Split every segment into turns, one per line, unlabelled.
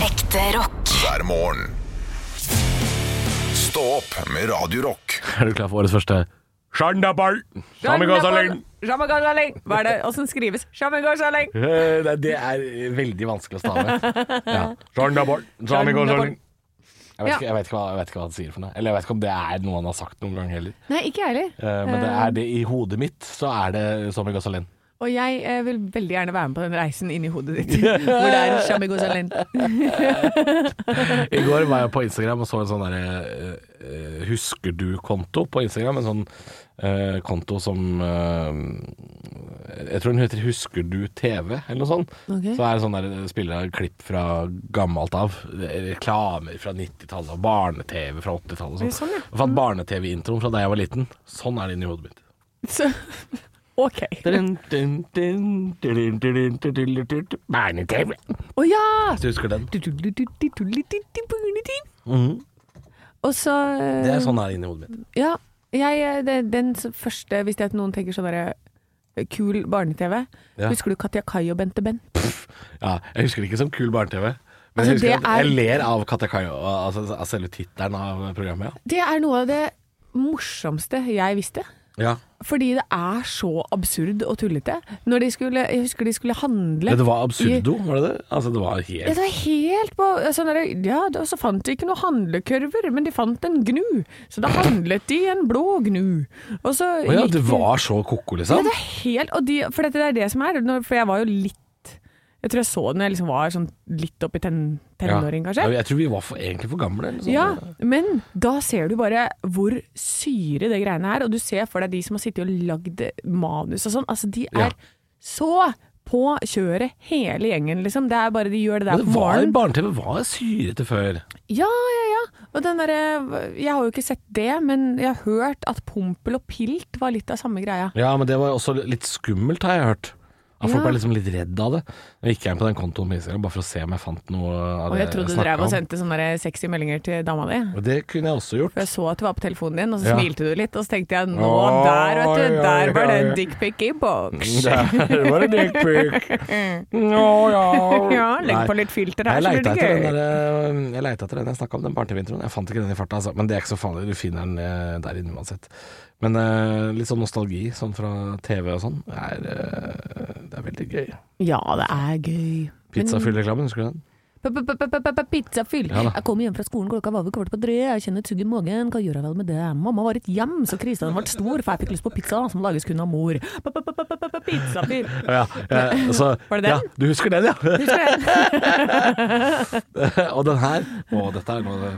Ekte rock.
hver morgen. Stå opp med Radio Rock.
Er du klar for årets første Shandaball? Shamikasaleng?
Shamagasaleng. Hva er det? Åssen skrives Shamagasaleng?
Eh, nei, Det er veldig vanskelig å stave. Ja. Shandaball? Shamikasaleng? Jeg vet,
Ja.
ikke, jeg, vet ikke hva, jeg vet ikke hva han sier for noe. Eller jeg vet ikke om det er noe han har sagt noen gang heller.
Nei, ikke jeg heller.
Eh, men det er det i hodet mitt, så er det Shamikasaleng.
Og jeg eh, vil veldig gjerne være med på den reisen inni hodet ditt hvor det er Shamagasaleng.
I går var jeg på Instagram og så en sånn derre eh, Husker du-konto på Instagram. En sånn eh, konto som eh, Jeg tror den heter Husker du TV, eller noe sånt.
Ok.
Så er det sånn der spiller av klipp fra gammelt av. Reklamer fra 90-tallet og barne-TV fra 80-tallet og
Det er sånn,
sånn.
ja.
Jeg fant barne-TV-introen fra da jeg var liten. Sånn er det inni hodet mitt.
Så OK.
Barne-TV.
Å ja!
Hvis du husker den.
Og så eh,
Mhm. Det er sånn er det inni hodet mitt.
Ja. Jeg, eh, det, den s- første, hvis det er at noen tenker sånn derre eh, Kul barne-TV.
Ja.
Husker du Katja Kai og Bente Benn?
Ja, jeg husker det ikke som kul barne-TV. Men jeg,
Altså,
husker
det
at
er-
jeg ler av Katja Kai, og- altså, av selve tittelen av programmet.
Det er noe av det morsomste jeg visste.
Ja.
Fordi det er så absurd og tullete. Når de skulle, jeg husker de skulle handle
Det var absurdo, var det det? Altså, det var
Ja,
helt
det var helt på sånn der, Ja, da- så fant de ikke noen handlekurver, men de fant en gnu. Så da handlet de en blå gnu. Og
Å
så
ja, det
gikk de-
var så ko-ko,
Ja,
liksom?
det er helt og de, For dette det er det som er. når- For jeg var jo litt Jeg tror jeg så den når jeg liksom var sånn litt oppi ten, tenåring,
Ja,
kanskje.
Jeg tror vi var for, egentlig for gamle. Eller sånn.
Ja, men da ser du bare hvor syre det greiene er, og du ser for deg de som har sittet og lagd manus og sånn. Altså, de er
Ja.
så på kjøret, hele gjengen, liksom. Det er bare de gjør det der
Men
på
det var
morgenen.
barne-TV var syrete før.
Ja, ja, ja. Og den derre Jeg har jo ikke sett det, men jeg har hørt at Pompel og Pilt var litt av samme greia.
Ja, men det var jo også litt skummelt, har jeg hørt. At Folk
Ja.
ble liksom litt redd av det. Jeg gikk jeg inn på den kontoen på Instagram bare for å se om jeg fant noe av
Og
det
jeg trodde du
snakket
drev
om.
og sendte sånne der sexy meldinger til dama di.
Og Det kunne jeg også gjort.
For jeg så at du var på telefonen din, og så
Ja.
smilte du litt. Og så tenkte jeg nå,
Oi,
der vet du,
oi,
der var
oi.
det dickpic i boks.
Der var det dickpic. Nå ja.
Mm. Ja, legg på litt filter her,
Jeg
så blir
leita
det
etter, den
gøy.
der, eh, jeg leita etter den jeg snakka om, den barne-TV-introen. Jeg fant ikke den i farta, altså. men det er ikke så farlig. Du finner den eh, der inne uansett. Men eh, litt sånn nostalgi sånn fra TV og sånn, er, eh, det er veldig gøy.
Ja, det er gøy.
Pizzafyll-reklamen, husker du den?
Pizzafyll.
Ja da.
jeg kom hjem fra skolen klokka var over kvart på tre. Jeg kjenner et sugg i magen. Hva gjør jeg vel med det? Mamma var i et hjem, så krisa den ble stor, for jeg fikk lyst på pizza som lages kun av mor. Pizzafyll.
Ja, ja, så,
Var det den?
Ja, du husker den, ja. og den her. Å, dette er noe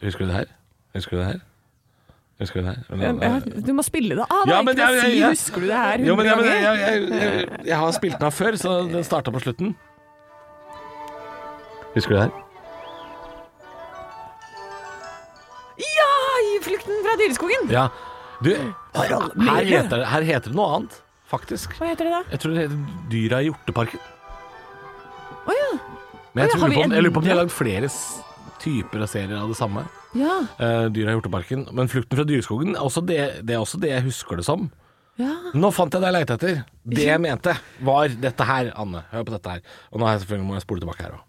Husker du det her? Husker du det her? Husker du det her?
Du må spille det. Ah, det
Ja,
er
men
ikke noe å
jeg-
si.
jeg-
Husker du det her
Jo, men, ja,
hundre
men jeg,
ganger?
jeg, jeg, jeg har spilt den av før, så den starta på slutten. Husker du det her?
Ja! I 'Flukten fra dyreskogen'.
Ja. Du, her heter, det- her heter det noe annet, faktisk.
Hva heter det da?
Jeg tror det heter Dyra i hjorteparken.
Å ja.
Men jeg,
Å ja,
tror, lurer
har vi
på om- jeg lurer på om de har
endret?
lagd flere s- typer av serier av det samme.
Ja.
Eh, Dyra i hjorteparken. Men Flukten fra dyreskogen, også det, det er også det jeg husker det som.
ja.
Nå fant jeg det jeg leita etter. Det jeg mente, var dette her, Anne. Hør på dette her. Og nå har jeg selvfølgelig må jeg spole tilbake her òg.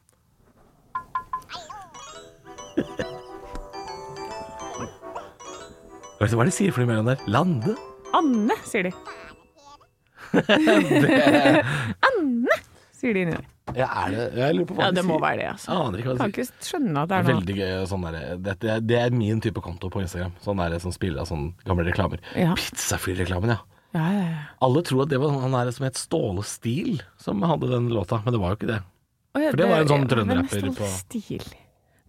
Vet du hva de sier for de mellom der? Lande?
Anne, sier de. Anne, sier de inni der.
Ja, er det Jeg lurer på hva
Ja,
de
det
sier.
må være det, altså.
Jeg aner ikke hva
Kan
de sier.
ikke skjønne at det er noe
Veldig gøy og sånn derre Dette er- Det er min type konto på Instagram. Sånn derre som spiller av sånne gamle reklamer.
Ja.
Pizzafyll-reklamen, ja.
ja, ja, ja.
Alle tror at det var han der som het Ståle Stil som hadde den låta, men det var jo ikke det.
Å ja,
For det var en sånn
ja, hvem er
trønderrapper
Ståle
på-
Stil.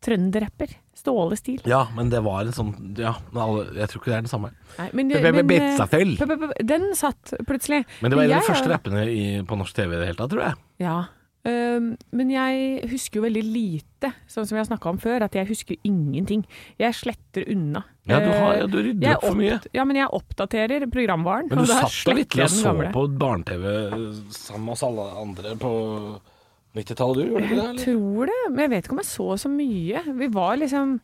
Trønderrapper. Ståle Stil.
Ja, men det var en sånn Ja, men alle, jeg tror ikke det er den samme.
Nei, men,
P- p-
men, eh,
Pizzafyll.
p- p- p- Den satt plutselig.
Men det var en av
Jeg
de første
har-
rappene i, på norsk TV i det hele tatt, tror jeg.
Ja. Ehm, men jeg husker jo veldig lite, sånn som jeg har snakka om før, at jeg husker ingenting. Jeg sletter unna.
Ja, du, har,
Eh,
ja, du rydder
jeg
opp for mye.
opp- Ja, men jeg oppdaterer programvaren.
Men
og
du
da
satt da
sletter
vitterlig
jeg
og
den
så
gamle.
på barne-TV sammen med oss alle andre på 90-tallet, du? Gjorde du ikke
Jeg
det?
tror det, men jeg vet ikke om jeg så så mye. Vi var liksom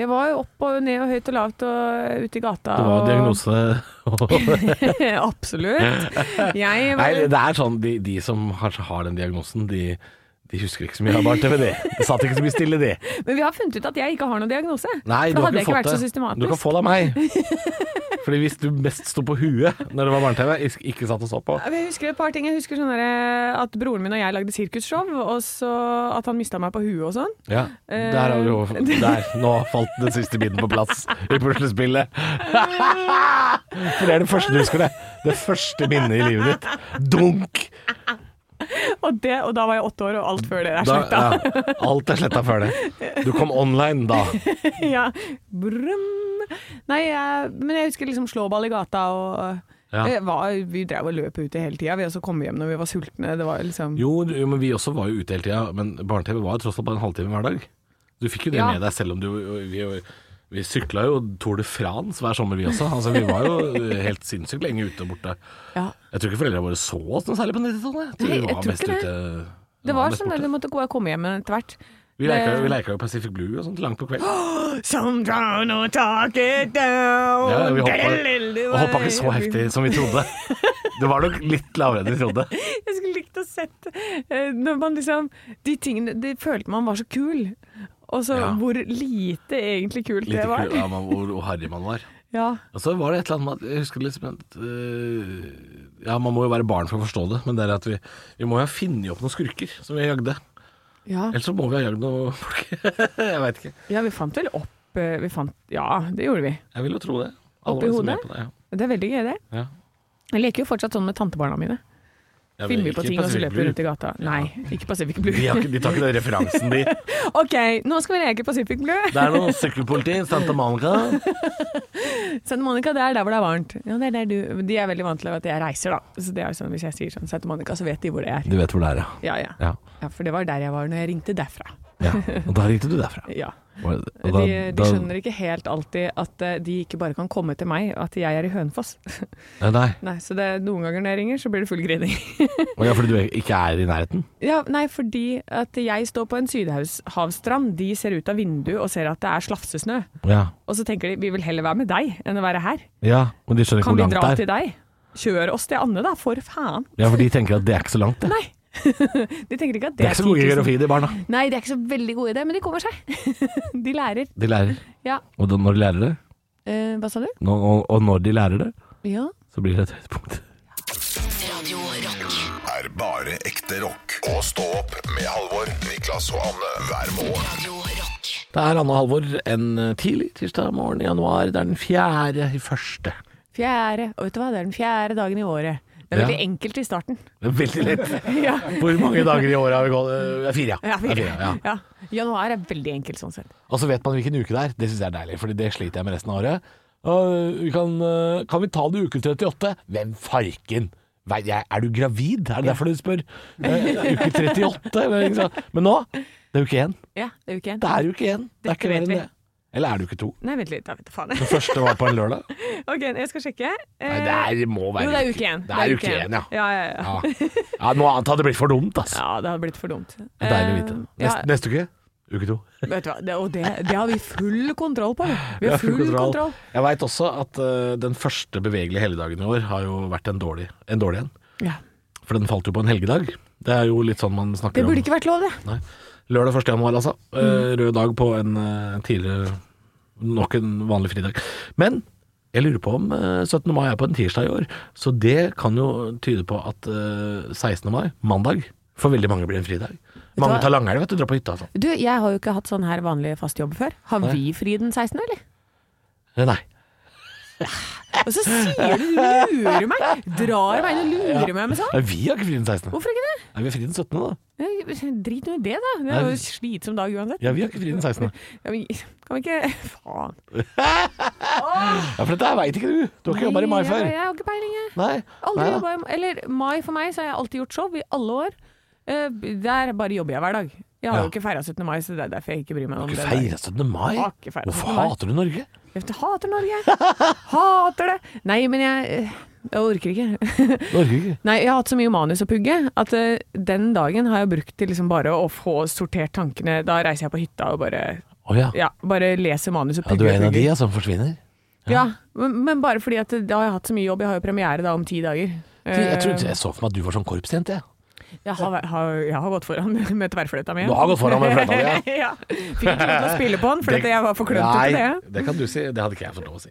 Jeg var jo opp og ned og høyt og lavt og ute i gata.
Det var
og-
diagnose
Absolutt. Jeg var,
Nei, det er sånn de, de som har, har den diagnosen, de, De husker ikke så mye av barn-TV, de. Det satt ikke så mye stille, de.
Men vi har funnet ut at jeg ikke har noen diagnose.
Nei,
For
du
da
har ikke
hadde jeg ikke
fått
vært
det.
så systematisk.
Du kan få det av meg. Fordi hvis du mest sto på huet når det var barne-TV, ikke- ikke satt og så på
Jeg husker et par ting. Jeg husker sånn derre at broren min og jeg lagde sirkusshow, og så at han mista meg på huet og sånn.
Ja, der, har vi jo,
Eh.
der, nå falt den siste biten på plass i puslespillet. For det er det første du husker, det. Det første minnet i livet ditt. Dunk!
Og, det, og da var jeg åtte år, og alt før det er
Da,
sletta.
ja, alt er sletta før det. Du kom online da.
sånn, ja. Brum. Nei, jeg, men jeg husker liksom slåball i gata og
Ja.
eh, var, Vi drev og løp ute hele tida, vi også kom hjem når vi var sultne. Det var liksom
Jo, du- jo, men vi også var jo ute hele tida. Men barne-TV var jo tross alt bare en halvtime hver dag. Du fikk jo det
Ja.
med deg, selv om du Vi, vi sykla jo Tour de France hver sommer, vi også. Altså, vi var jo helt sinnssykt lenge ute og borte.
Ja.
Jeg tror ikke foreldrene våre så oss noe særlig på 90-tallet. Jeg tror
Nei,
vi
jeg
var
tror
mest
ikke det.
ute var
Det var
mest
sånn at
borte.
du måtte gå- komme hjem etter hvert.
Vi leika, jo- vi leika jo Pacific Blue og sånt langt på kveld.
Some drown or talk it down.
Ja, vi hoppa, og hoppa ikke så heftig som vi trodde. Det var nok litt lavere enn vi trodde.
Jeg skulle likt å sett eh, når man liksom De tingene Det følte man var så kul. Og så
Ja.
hvor lite egentlig kult
Litt
det var.
kul av man- hvor hvor harry man var.
Ja.
Og så var det et eller annet med at Jeg husker liksom at øh, Ja, man må jo være barn for å forstå det, men det er at vi, vi må jo ha funnet opp noen skurker som vi jagde.
Ja.
Ellers så må vi ha jagd noen folk. jeg veit ikke.
ja, vi fant vel opp eh, Vi fant Ja, det gjorde vi.
Jeg vil jo tro det.
Opp
var
i
liksom med
hodet?
på det, ja.
Det er veldig gøy, det.
Ja.
Jeg leker jo fortsatt sånn med tantebarna mine.
Ja, men
Filmer på
ikke
ting, og så
Pacific
løper
Blue.
vi rundt i gata. Nei, ikke Pacific
De, har
Blue.
ikke, de tar ikke den referansen, de.
OK, nå skal vi leke Pacific Blue.
Det er noe sykkelpoliti, Santa Monica.
Santa Monica, det er der hvor det er varmt. Ja, det er der du De er veldig vant til at jeg reiser, da. Så det er jo sånn, Hvis jeg sier sånn Santa Monica, så vet de hvor det er.
Du vet hvor det er,
Ja, ja.
Ja.
ja for det var der jeg var når jeg ringte derfra.
ja. Og da ringte du derfra.
Ja.
Og
De, de skjønner ikke helt alltid at eh, de ikke bare kan komme til meg, at jeg er i Hønefoss.
Nei,
Nei, så det, noen ganger når jeg ringer, så blir det full grining.
og ja, fordi du ikke er i nærheten?
Ja, nei, fordi at jeg står på en sydhavsstrand, de ser ut av vinduet og ser at det er slafsesnø.
Ja.
Og så tenker de vi vil heller være med deg enn å være her.
ja men de skjønner ikke
Kan
hvor
vi
langt
dra
det
til
er.
deg? Kjør oss til Anne da, for faen.
Ja, for de tenker at det er ikke så langt. Det,
Nei. De tenker ikke at
det
det,
er
sånn.
ikke så gode
10 000.
geografi, de barna.
Nei, de er ikke så veldig gode i det, men de kommer seg. De lærer.
De lærer.
Ja.
Og da, når de lærer det,
Eh, hva sa du?
nå- og, og når de lærer det,
Ja.
så blir det et høydepunkt.
Er bare ekte rock. Og stå opp med Halvor, Niklas og Anne hver morgen.
Det er Anne og Halvor en eh, tidlig tirsdag morgen i januar. Det er den fjerde i første.
Fjerde. Og vet du hva, det er den fjerde dagen i året. Det er
Ja.
veldig enkelt i starten.
Det er veldig lett.
Ja.
Hvor mange dager i året har vi gått? Eh, Det er fire, ja.
Ja,
Det er fire, ja.
ja. Januar er veldig enkelt sånn sett.
Og så vet man hvilken uke det er. Det syns jeg er deilig, Fordi det sliter jeg med resten av året. Og vi kan, øh, kan vi ta det i uke 38? Hvem farken? Vei- jeg- Er du gravid? Er det derfor du spør? Eh, Uke 38? eller ikke sant? Men nå, det er uke én.
Ja, det er uke én.
Det er uke én. Det er
Dette
ikke mer
vet
enn
vi.
det. Eller er det uke to?
Nei, vent litt, da vet jeg faen.
Den første var på en lørdag.
Ok, jeg skal sjekke. Eh,
Nei, det er, må være
jo, det er uke én.
Det er uke én, ja.
Ja, ja, ja.
Ja. ja. Noe annet hadde blitt for dumt, altså.
ja, det hadde blitt for dumt.
Det er Deilig å vite.
Eh, ja,
Neste, neste uke? Uke to.
vet du hva, det, og det, det har vi full kontroll på. Vi
Vi
har full kontroll.
Jeg veit også at øh, den første bevegelige helligdagen i år har jo vært en dårlig en. Dårlig en.
Ja.
For den falt jo på en helgedag. Det er jo litt sånn man snakker
Det burde
om.
ikke vært lov, det.
Nei. Lørdag 1. januar, altså.
Mm.
Eh, Rød dag på en eh, tidligere Nok en vanlig fridag. Men jeg lurer på om eh, 17. mai er på en tirsdag i år, så det kan jo tyde på at eh, 16. mai, mandag, for veldig mange blir en fridag.
du
Mange
hva?
tar langhelg, vet du, drar på hytta og sånn.
Du, jeg har jo ikke hatt sånn her vanlig fast jobb før. Har
Nei.
vi fri den 16., eller?
Eh, Nei.
Og så sier du du lurer meg! Drar meg inn og lurer meg med sånn.
Nei, Vi har ikke fri den 16.
Hvorfor ikke det?
Nei, vi har fri den 17., da.
Eh, Drit nå i det, da. Det er jo en slitsom dag uansett.
Ja, vi har ikke fri den 16.
Ja, men Kan vi ikke Faen.
Ja, for dette veit ikke du. Du har ikke jobba i mai
Nei, jeg-
før.
Jeg har ikke peiling, jeg.
Nei.
Aldri
Nei da.
jobba i Eller mai for meg, så har jeg alltid gjort show i alle år. Eh, Der bare jobber jeg hver dag. Jeg har
Ja.
jo ikke feira 17. mai, så det er derfor jeg ikke bryr meg om
Du
det.
har ikke feira 17. mai?
Har ikke feiret 17.
Hvorfor
mai.
hater du Norge?
Jeg hater Norge! Hater det! Nei, men jeg eh, Jeg orker ikke.
Norge ikke.
Nei, jeg har hatt så mye manus å pugge at eh, den dagen har jeg brukt til liksom bare å få sortert tankene. Da reiser jeg på hytta og bare
Å ja.
Ja, bare leser manus og
ja. Du
pugger.
er en av de
pugger.
ja, som forsvinner?
Ja, men, men bare eh, fordi at da har jeg hatt så mye jobb. Jeg har jo premiere da om ti dager. Eh,
Du, Jeg trodde jeg så for meg at du var sånn korpsjente, jeg.
Jeg har, vært- har, jeg har gått foran med, med tverrfløyta mi.
Du har gått foran med fløyta di,
ja. Fikk ikke lov til å spille på den, for jeg var for klønete til det.
Nei, det kan du si. Det hadde ikke jeg fått lov å si.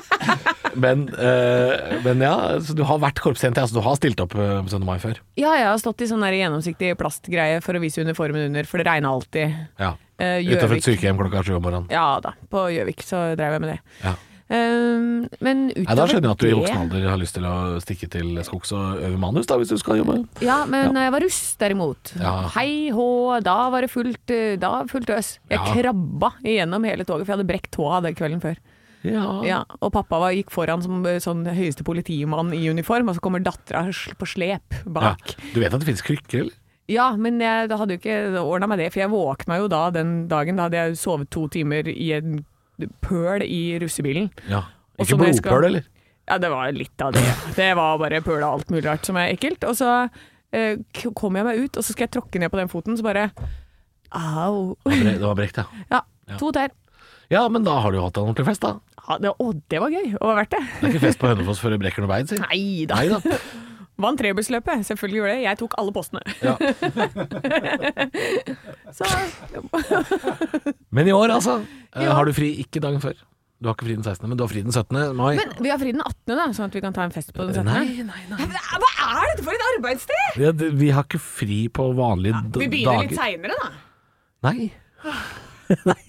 Men, eh, men ja, så du har vært korpsjente. Altså, du har stilt opp eh, på 17. mai før.
Ja, jeg har stått i sånn der gjennomsiktig plastgreie for å vise uniformen under, for det regna alltid.
Ja.
Eh,
Utenfor
Gjøvik.
et sykehjem klokka sju om morgenen.
Ja da, på Gjøvik så drev jeg med det.
Ja.
Um, men utover
Nei, da skjønner jeg at du i
det-
voksen alder har lyst til å stikke til skogs og øve manus, da, hvis du skal jobbe.
Ja, men når jeg var russ derimot.
Ja.
Hei hå, da var det fullt, eh, da fullt øs. Jeg
Ja.
krabba igjennom hele toget, for jeg hadde brekt tåa den kvelden før.
Ja.
Ja, og pappa var, gikk foran som eh, sånn høyeste politimann i uniform, og så kommer dattera sl- på slep
Ja.
bak.
Du vet at det finnes krykker, eller?
Ja, men jeg da hadde jo ikke ordna meg det, for jeg våkna jo da den dagen. Da hadde jeg sovet to timer i en pøl i russebilen.
Ja.
Og
Ikke
så når jeg skal-
blodpøl, eller?
Ja, det var litt av det. Det var bare pøl og alt mulig rart som er ekkelt. Og så eh, k- kom jeg meg ut, og så skal jeg tråkke ned på den foten, så bare Au.
Det var brekt, ja.
Ja, to tær.
Ja, men da har du jo hatt en ordentlig fest, da.
Ja, det, å, det var gøy. Og var verdt det.
Det er ikke fest på Hønefoss før du brekker noe bein, si.
Nei da.
Nei da.
Vant trebussløpet. Selvfølgelig gjorde jeg det. Jeg tok alle postene.
Ja.
Så
Men i år, altså. eh,
Ja.
Har du fri ikke dagen før? Du har ikke fri den 16., men du har fri den 17. mai.
Men vi har fri den 18., da, sånn at vi kan ta en fest på den 17.
Nei, nei, nei.
Hva er dette for et arbeidssted?!
Vi, har- vi har ikke fri på vanlige d- dager.
Vi begynner litt seinere, da.
Nei. nei.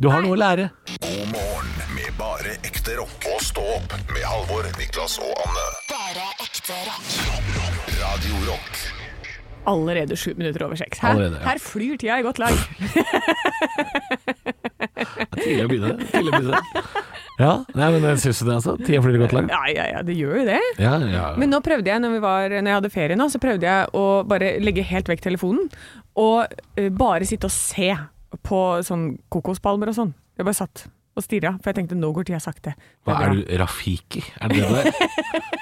Du har noe å lære.
God morgen med bare ekte rock. Og stå opp med Halvor, Niklas og Anne.
Bare ekte rock.
Radio Rock
Allerede sju minutter over seks. Her,
Allerede, ja.
her flyr tida i godt lag.
Det er Tidlig å begynne. Tidlig å begynne. Ja, nei, men jeg syns det, altså. Tida flyr godt langt.
Ja, ja, ja, det gjør jo det.
Ja, ja.
Men nå prøvde jeg, når, vi var, når jeg hadde ferie nå, så prøvde jeg å bare legge helt vekk telefonen, og eh, bare sitte og se på sånn kokospalmer og sånn. Jeg bare satt og stirra, for jeg tenkte nå går tida sakte. Det
Hva er
bra.
du, Rafiki? Er det det du er?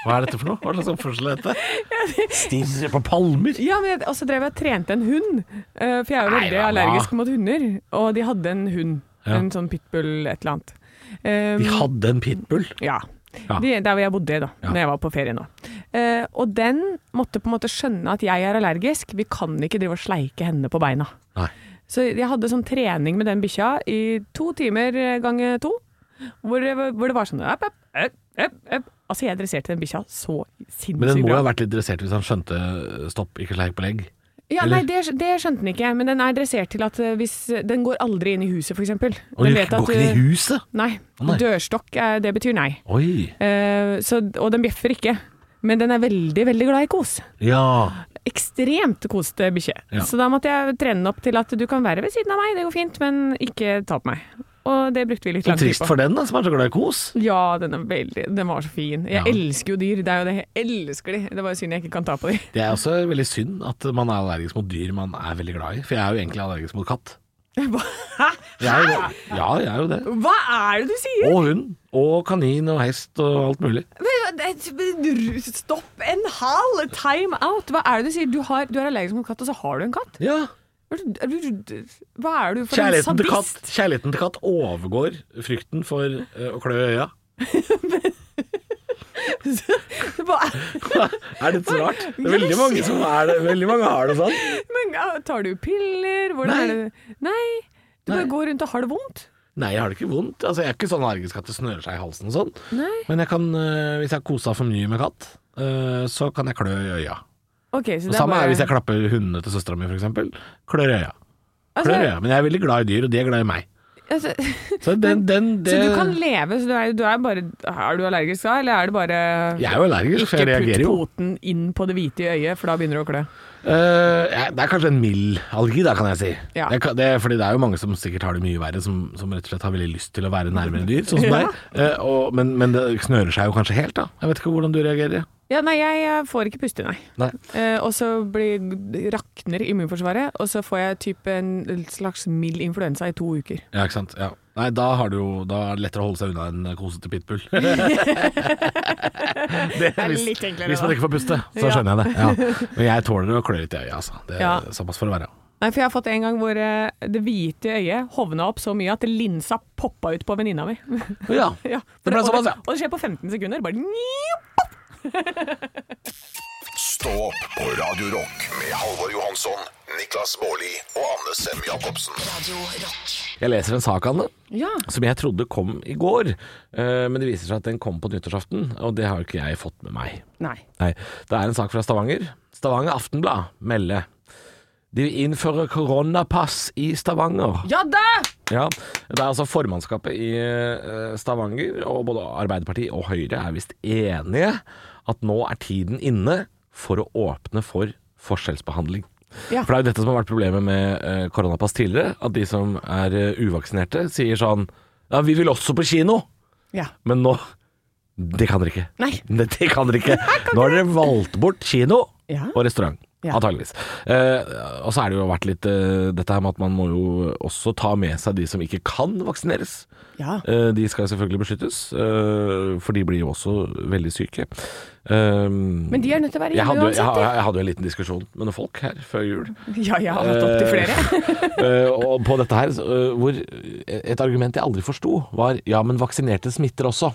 Hva er dette for noe? Hva slags oppførsel er dette? Stirre på palmer?
Ja, men jeg, og så drev jeg og trente en hund, eh, for jeg er jo
Nei,
veldig
da, hva?
allergisk mot hunder, og de hadde en hund,
Ja.
en sånn pitbull et eller annet. Um,
De hadde en pitbull.
Ja.
Ja.
De, der hvor jeg bodde da,
Ja.
når jeg var på ferie nå. Eh, og den måtte på en måte skjønne at jeg er allergisk, vi kan ikke drive og sleike henne på beina.
Nei.
Så jeg hadde sånn trening med den bikkja i to timer eh, ganger to, hvor, det var- hvor det var sånn øpp, øpp, øpp, øpp, øpp. Altså, jeg dresserte den bikkja så
Men den
sinnssykt
må jo ha
bra.
vært litt dressert hvis han skjønte eh, stopp, ikke sleik på legg.
Ja,
eller?
nei, det, skj- det skjønte den ikke, men den er dressert til at eh, hvis Den går aldri inn i huset, for eksempel.
Og
Den
du går
vet at
ikke inn i
du-
huset?
Nei.
Å, nei.
Dørstokk, eh, det betyr nei.
Oi.
Eh, så, og den bjeffer ikke. Men den er veldig, veldig glad i kos.
Ja.
Ekstremt kosete bikkje.
Ja.
Så da måtte jeg trene den opp til at du kan være ved siden av meg, det går fint, men ikke ta på meg. Og det brukte vi litt
Så
lang tid
trist
på.
for den, da, som er så glad i kos.
Ja, den, er veldig, den var så fin. Jeg
Ja.
elsker jo dyr, det er jo det. Jeg elsker de. Det var jo synd jeg ikke kan ta på de.
Det er også veldig synd at man er allergisk mot dyr man er veldig glad i. For jeg er jo egentlig allergisk mot katt.
Hva,
Jeg er jo det. Ja, jeg er jo det.
Hva er det du sier?
Og hund. Og kanin og hest og alt mulig.
Men- men- men- Stopp en hal! Time out! Hva er det du sier? Du, har, du er allergisk mot katt, og så har du en katt?
Ja.
Er du- er du- Hva er du for en
Kjærligheten til,
sadist?
katt, kjærligheten til katt overgår frykten for eh, å klø i øya.
Hva-
Er dette så rart? Det er veldig mange som er det. Veldig mange har det sånn.
Men ja, tar du piller? Hvordan
Nei.
er det? Nei. Du bare
Nei.
går rundt og har det vondt?
Nei, jeg har det ikke vondt. Altså, jeg er ikke sånn allergisk at det snører seg i halsen og sånn.
Nei.
Men jeg kan, eh, hvis jeg har kosa for mye med katt, eh, så kan jeg klø i øya.
Ok, så
Og
det er
samme
bare
er hvis jeg klapper hundene til søstera mi, f.eks. Klør i øya.
Altså,
Klør i øya. Men jeg er veldig glad i dyr, og de er glad i meg.
altså,
Så, den, den, det,
så du kan leve, så du er, du er bare Er du allergisk da, eller er det bare
Jeg er jo allergisk, for
Ikke
jeg
putt
reagerer jo.
poten inn på det hvite i øyet, for da begynner du å klø.
Eh, jeg- det er kanskje en mild allergi, da, kan jeg si.
Ja.
Det, kan- det, fordi det er jo mange som sikkert har det mye verre, som, som rett og slett har veldig lyst til å være nærmere dyr, sånn som
Ja.
deg. Eh, og, men, men det snører seg jo kanskje helt, da. Jeg vet ikke hvordan du reagerer.
Ja, nei, jeg eh, får ikke puste, nei.
Nei.
Eh, og så blir, rakner immunforsvaret, og så får jeg type en slags mild influensa i to uker.
Ja, ikke sant. Ja. Nei, da, har du jo, da er det lettere å holde seg unna en kosete pitbull. det er
litt enklere,
hvis man
da.
ikke får puste, så
Ja.
skjønner jeg det. Ja. Men jeg tåler å klø litt i øyet, altså. Det er
Ja.
såpass for å være.
Nei, for jeg har fått en gang hvor eh, det hvite øyet hovna opp så mye at linsa poppa ut på venninna mi.
Ja.
Ja.
Det ble
og
såpass, ja.
Og det skjer på 15 sekunder. Bare njip.
Stå Stå opp på Radio Rock med Halvor Johansson, Niklas Baarli og Anne Sem Jacobsen.
Jeg leser en sak, Anne,
Ja.
som jeg trodde kom i går, eh, men det viser seg at den kom på nyttårsaften, og det har jo ikke jeg fått med meg.
Nei.
Nei, det er en sak fra Stavanger. Stavanger Aftenblad melder. De innfører koronapass i Stavanger.
Ja da!
Ja, Det er altså formannskapet i eh, Stavanger, og både Arbeiderpartiet og Høyre er visst enige at nå er tiden inne for å åpne for forskjellsbehandling.
Ja.
For det er jo dette som har vært problemet med eh, koronapass tidligere, at de som er eh, uvaksinerte sier sånn Ja, vi vil også på kino!
Ja.
Men nå Det kan dere ikke.
Nei.
Det, det kan dere ikke. Nå har dere valgt bort kino
Ja.
og restaurant.
Ja.
Antageligvis. Eh, og så er det jo vært litt eh, dette her med at man må jo også ta med seg de som ikke kan vaksineres.
Ja.
Eh, de skal selvfølgelig beskyttes, eh, for de blir jo også veldig syke. Um,
Men de er nødt til å være
jeg
hjemme
hadde, jo- jeg,
uansett, de.
jeg, jeg hadde jo en liten diskusjon med noen folk her før jul.
Ja, jeg har hatt opptil flere.
Eh, og på dette her, så, eh, hvor et argument jeg aldri forsto, var ja, men vaksinerte smitter også.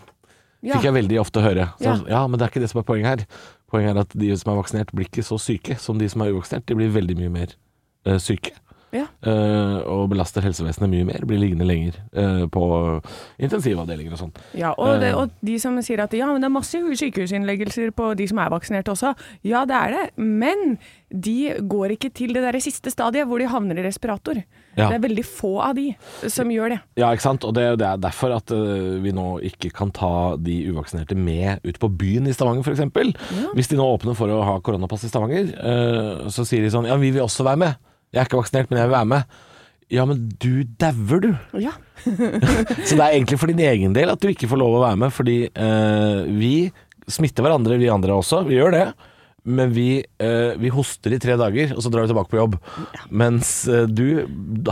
Ja.
Fikk jeg veldig ofte høre. Så,
Ja.
ja. men det er ikke det som er poenget her. Poenget er at de som er vaksinert blir ikke så syke som de som er uvaksinert. De blir veldig mye mer eh, syke.
Ja.
eh, og belaster helsevesenet mye mer. Blir liggende lenger eh, på intensivavdelinger og sånn.
Ja, og, det, og de som sier at ja, men det er masse sykehusinnleggelser på de som er vaksinert også. Ja, det er det, men de går ikke til det der siste stadiet hvor de havner i respirator.
Ja.
Det er veldig få av de som gjør det.
Ja, ikke sant? Og det, det er derfor at eh, vi nå ikke kan ta de uvaksinerte med ut på byen i Stavanger f.eks. eksempel Hvis de nå åpner for å ha koronapass i Stavanger, eh, så sier de sånn Ja, vi vil også være med. Jeg er ikke vaksinert, men jeg vil være med. Ja, men du dauer, du.
Ja.
Så det er egentlig for din egen del at du ikke får lov å være med, fordi eh, vi smitter hverandre, vi andre også. Vi gjør det. Men vi, eh, vi hoster i tre dager, og så drar vi tilbake på jobb. Mens eh, du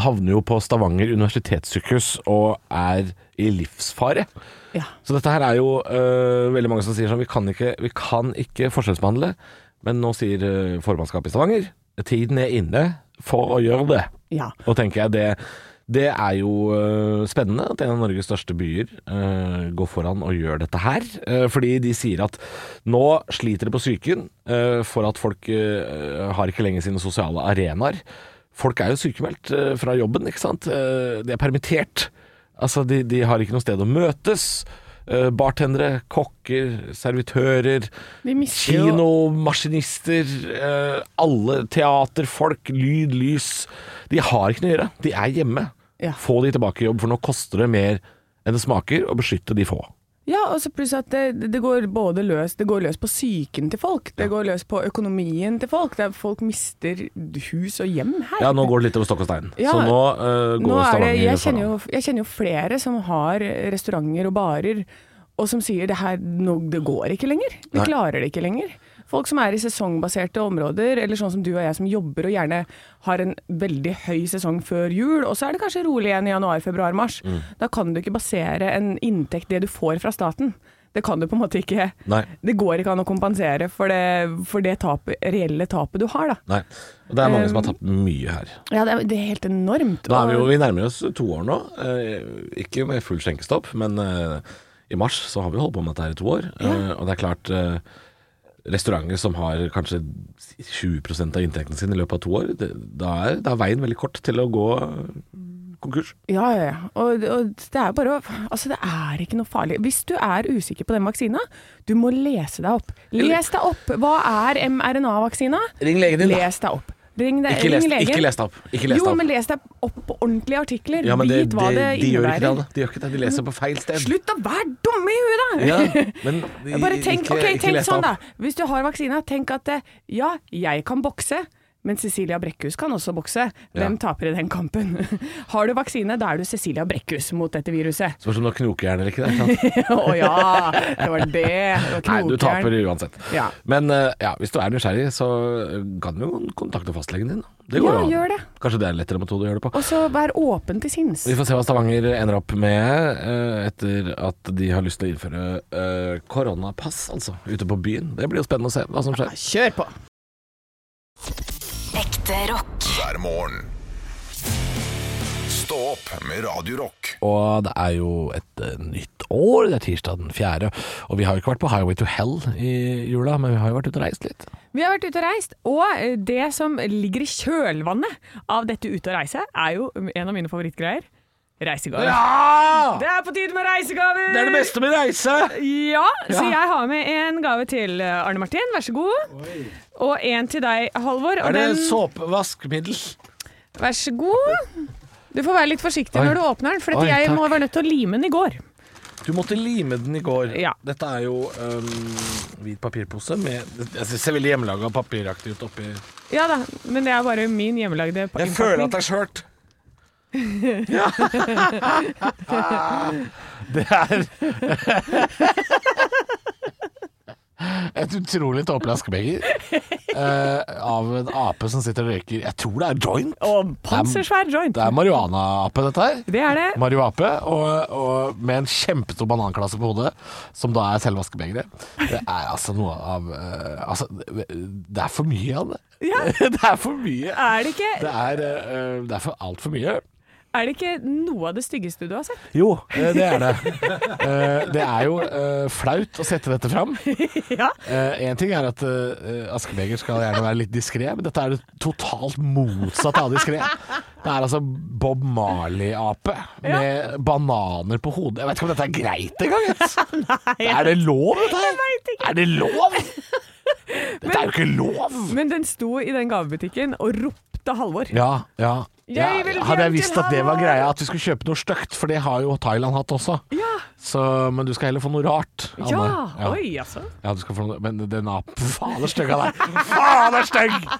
havner jo på Stavanger universitetssykehus og er i livsfare.
Ja.
Så dette her er jo eh, veldig mange som sier sånn Vi kan ikke, vi kan ikke forskjellsbehandle. Men nå sier eh, formannskapet i Stavanger tiden er inne for å gjøre det.
Ja.
Og tenker jeg det det er jo øh, spennende at en av Norges største byer øh, går foran og gjør dette her. øh, fordi de sier at nå sliter det på psyken øh, for at folk øh, har ikke lenger sine sosiale arenaer. Folk er jo sykemeldt øh, fra jobben, ikke sant. Eh, de er permittert. Altså, de, de har ikke noe sted å møtes. Eh, bartendere, kokker, servitører,
De mister jo-
kinomaskinister, eh, alle teaterfolk, lyd, lys. De har ikke noe å gjøre. De er hjemme.
Ja.
Få de tilbake i jobb, for nå koster det mer enn det smaker å beskytte de få.
Ja, og så pluss at det, det går både løs Det går løs på psyken til folk, det går løs på økonomien til folk. Det er, folk mister hus og hjem her.
Ja, nå går det litt over stokk og stein.
Ja.
Så nå eh, går
Nå er det,
Stavanger
jeg,
foran.
kjenner jo, jeg kjenner jo flere som har restauranter og barer, og som sier det her nå, det går ikke lenger. Vi
Nei.
klarer det ikke lenger. Folk som er i sesongbaserte områder, eller sånn som du og jeg som jobber og gjerne har en veldig høy sesong før jul, og så er det kanskje rolig igjen i januar, februar, mars.
Mm.
Da kan du ikke basere en inntekt, det du får fra staten. Det kan du på en måte ikke.
Nei.
Det går ikke an å kompensere for det, for det tapet, reelle tapet du har, da.
Nei. Og det er mange som har tapt mye her.
Ja, det er, det er helt enormt.
Da er vi, jo,
og-
vi nærmer oss to år nå. Eh, ikke med full skjenkestopp, men eh, i mars så har vi holdt på med dette her i to år. Eh, og det er klart eh, Restauranter som har kanskje 20 av inntekten sin i løpet av to år, det, da, er, da er veien veldig kort til å gå eh, konkurs.
Ja, ja, ja. Og, og det er bare å Altså, det er ikke noe farlig. Hvis du er usikker på den vaksina, du må lese deg opp. Les deg opp! Hva er mRNA-vaksina?
Ring legen din, da.
Les deg opp. Ring deg,
Ikke les,
ring legen.
ikke les deg opp. Ikke les
jo,
deg opp.
men les deg opp på ordentlige artikler.
Ja, men det,
Vit
det,
hva det,
de gjør ikke det,
innebærer.
Anne. De gjør ikke det. De leser på feil sted.
Slutt å være dumme i huet, da!
Ja, men de-
Bare tenk,
ikke-
ok,
ikke
tenk
les deg
sånn, da.
opp.
Hvis du har vaksina, tenk at eh, ja, jeg kan bokse. Men Cecilia Brekkhus kan også bokse. Hvem taper i den kampen? Har du vaksine, da er du Cecilia Brekkhus mot dette viruset.
Spørs om du har knokejern eller ikke. Det, ikke sant?
Å ja, det var det. det var
Nei, du
knokjern.
taper uansett.
Ja.
Men eh, ja, hvis du er nysgjerrig, så eh, kan du jo kontakte fastlegen din. Det går
Ja,
jo an.
gjør det.
Kanskje det er en lettere metode å gjøre det på.
Og så vær åpen til sinns.
Vi får se hva Stavanger ender opp med eh, etter at de har lyst til å innføre eh, koronapass, altså, ute på byen. Det blir jo spennende å se hva som skjer.
Kjør på!
Ekte rock.
Hver morgen. Stå opp med Radio Rock.
Og det er jo et eh, nytt år, det er tirsdag den fjerde. Og vi har jo ikke vært på Highway to Hell i jula, men vi har jo vært ute og reist litt.
Vi har vært ute og reist, og eh, det som ligger i kjølvannet av dette ute og reise, er jo en av mine favorittgreier. Reisegaver.
Ja!
Det er på tide med reisegaver!
Det er det beste med reise!
Ja, så
Ja.
jeg har med en gave til eh, Arne Martin, vær så god. Og en til deg, Halvor. Og
Er det
den,
såpevaskemiddel?
vær så god. Du får være litt forsiktig
Oi.
når du åpner den, for at
Oi,
jeg
takk.
må være nødt til å lime den i går.
Du måtte lime den i går.
Ja.
Dette er jo øhm, hvit papirpose med Jeg synes det ser veldig hjemmelaga og papiraktig ut oppi
Ja da, men det er bare min hjemmelagde pa-
Jeg føler at det er skjørt. Ja. det er Et utrolig tåpelig askebeger eh, av en ape som sitter og røyker Jeg tror det er joint.
Og pansersvær joint.
Det er marihuana-ape, dette her.
Det er det.
Marihuape, og, og med en kjempestor bananklasse på hodet, som da er selve askebegeret. Det er altså noe av eh, altså, Det det er for mye av det.
Ja.
det er for mye.
Er det ikke,
Det er, eh, det er for altfor mye.
er det ikke noe av det styggeste du har sett?
Jo, eh, det er det. Eh, Det er jo eh, flaut å sette dette fram.
Ja.
Én ting er at eh, askebeger skal gjerne være litt diskré, men dette er det totalt motsatte av diskré. Det er altså Bob Marley-ape med bananer på hodet. Jeg vet ikke om dette er greit engang. vet du. Er det lov, dette her?
vet ikke.
Er det lov? Dette er jo ikke lov!
Men den sto i den gavebutikken og ropte Halvor.
Ja, ja. ja
Jeg vil
hadde
hjem
jeg visst
til
at det var
Halvor.
greia, at vi skulle kjøpe noe stygt, for det har jo Thailand hatt også.
Ja.
Så, men du skal heller få noe rart. Anne.
Ja, oi altså.
Ja, du skal få noe Men den apen Fader, stygg av deg! Fader, stygg! Ja,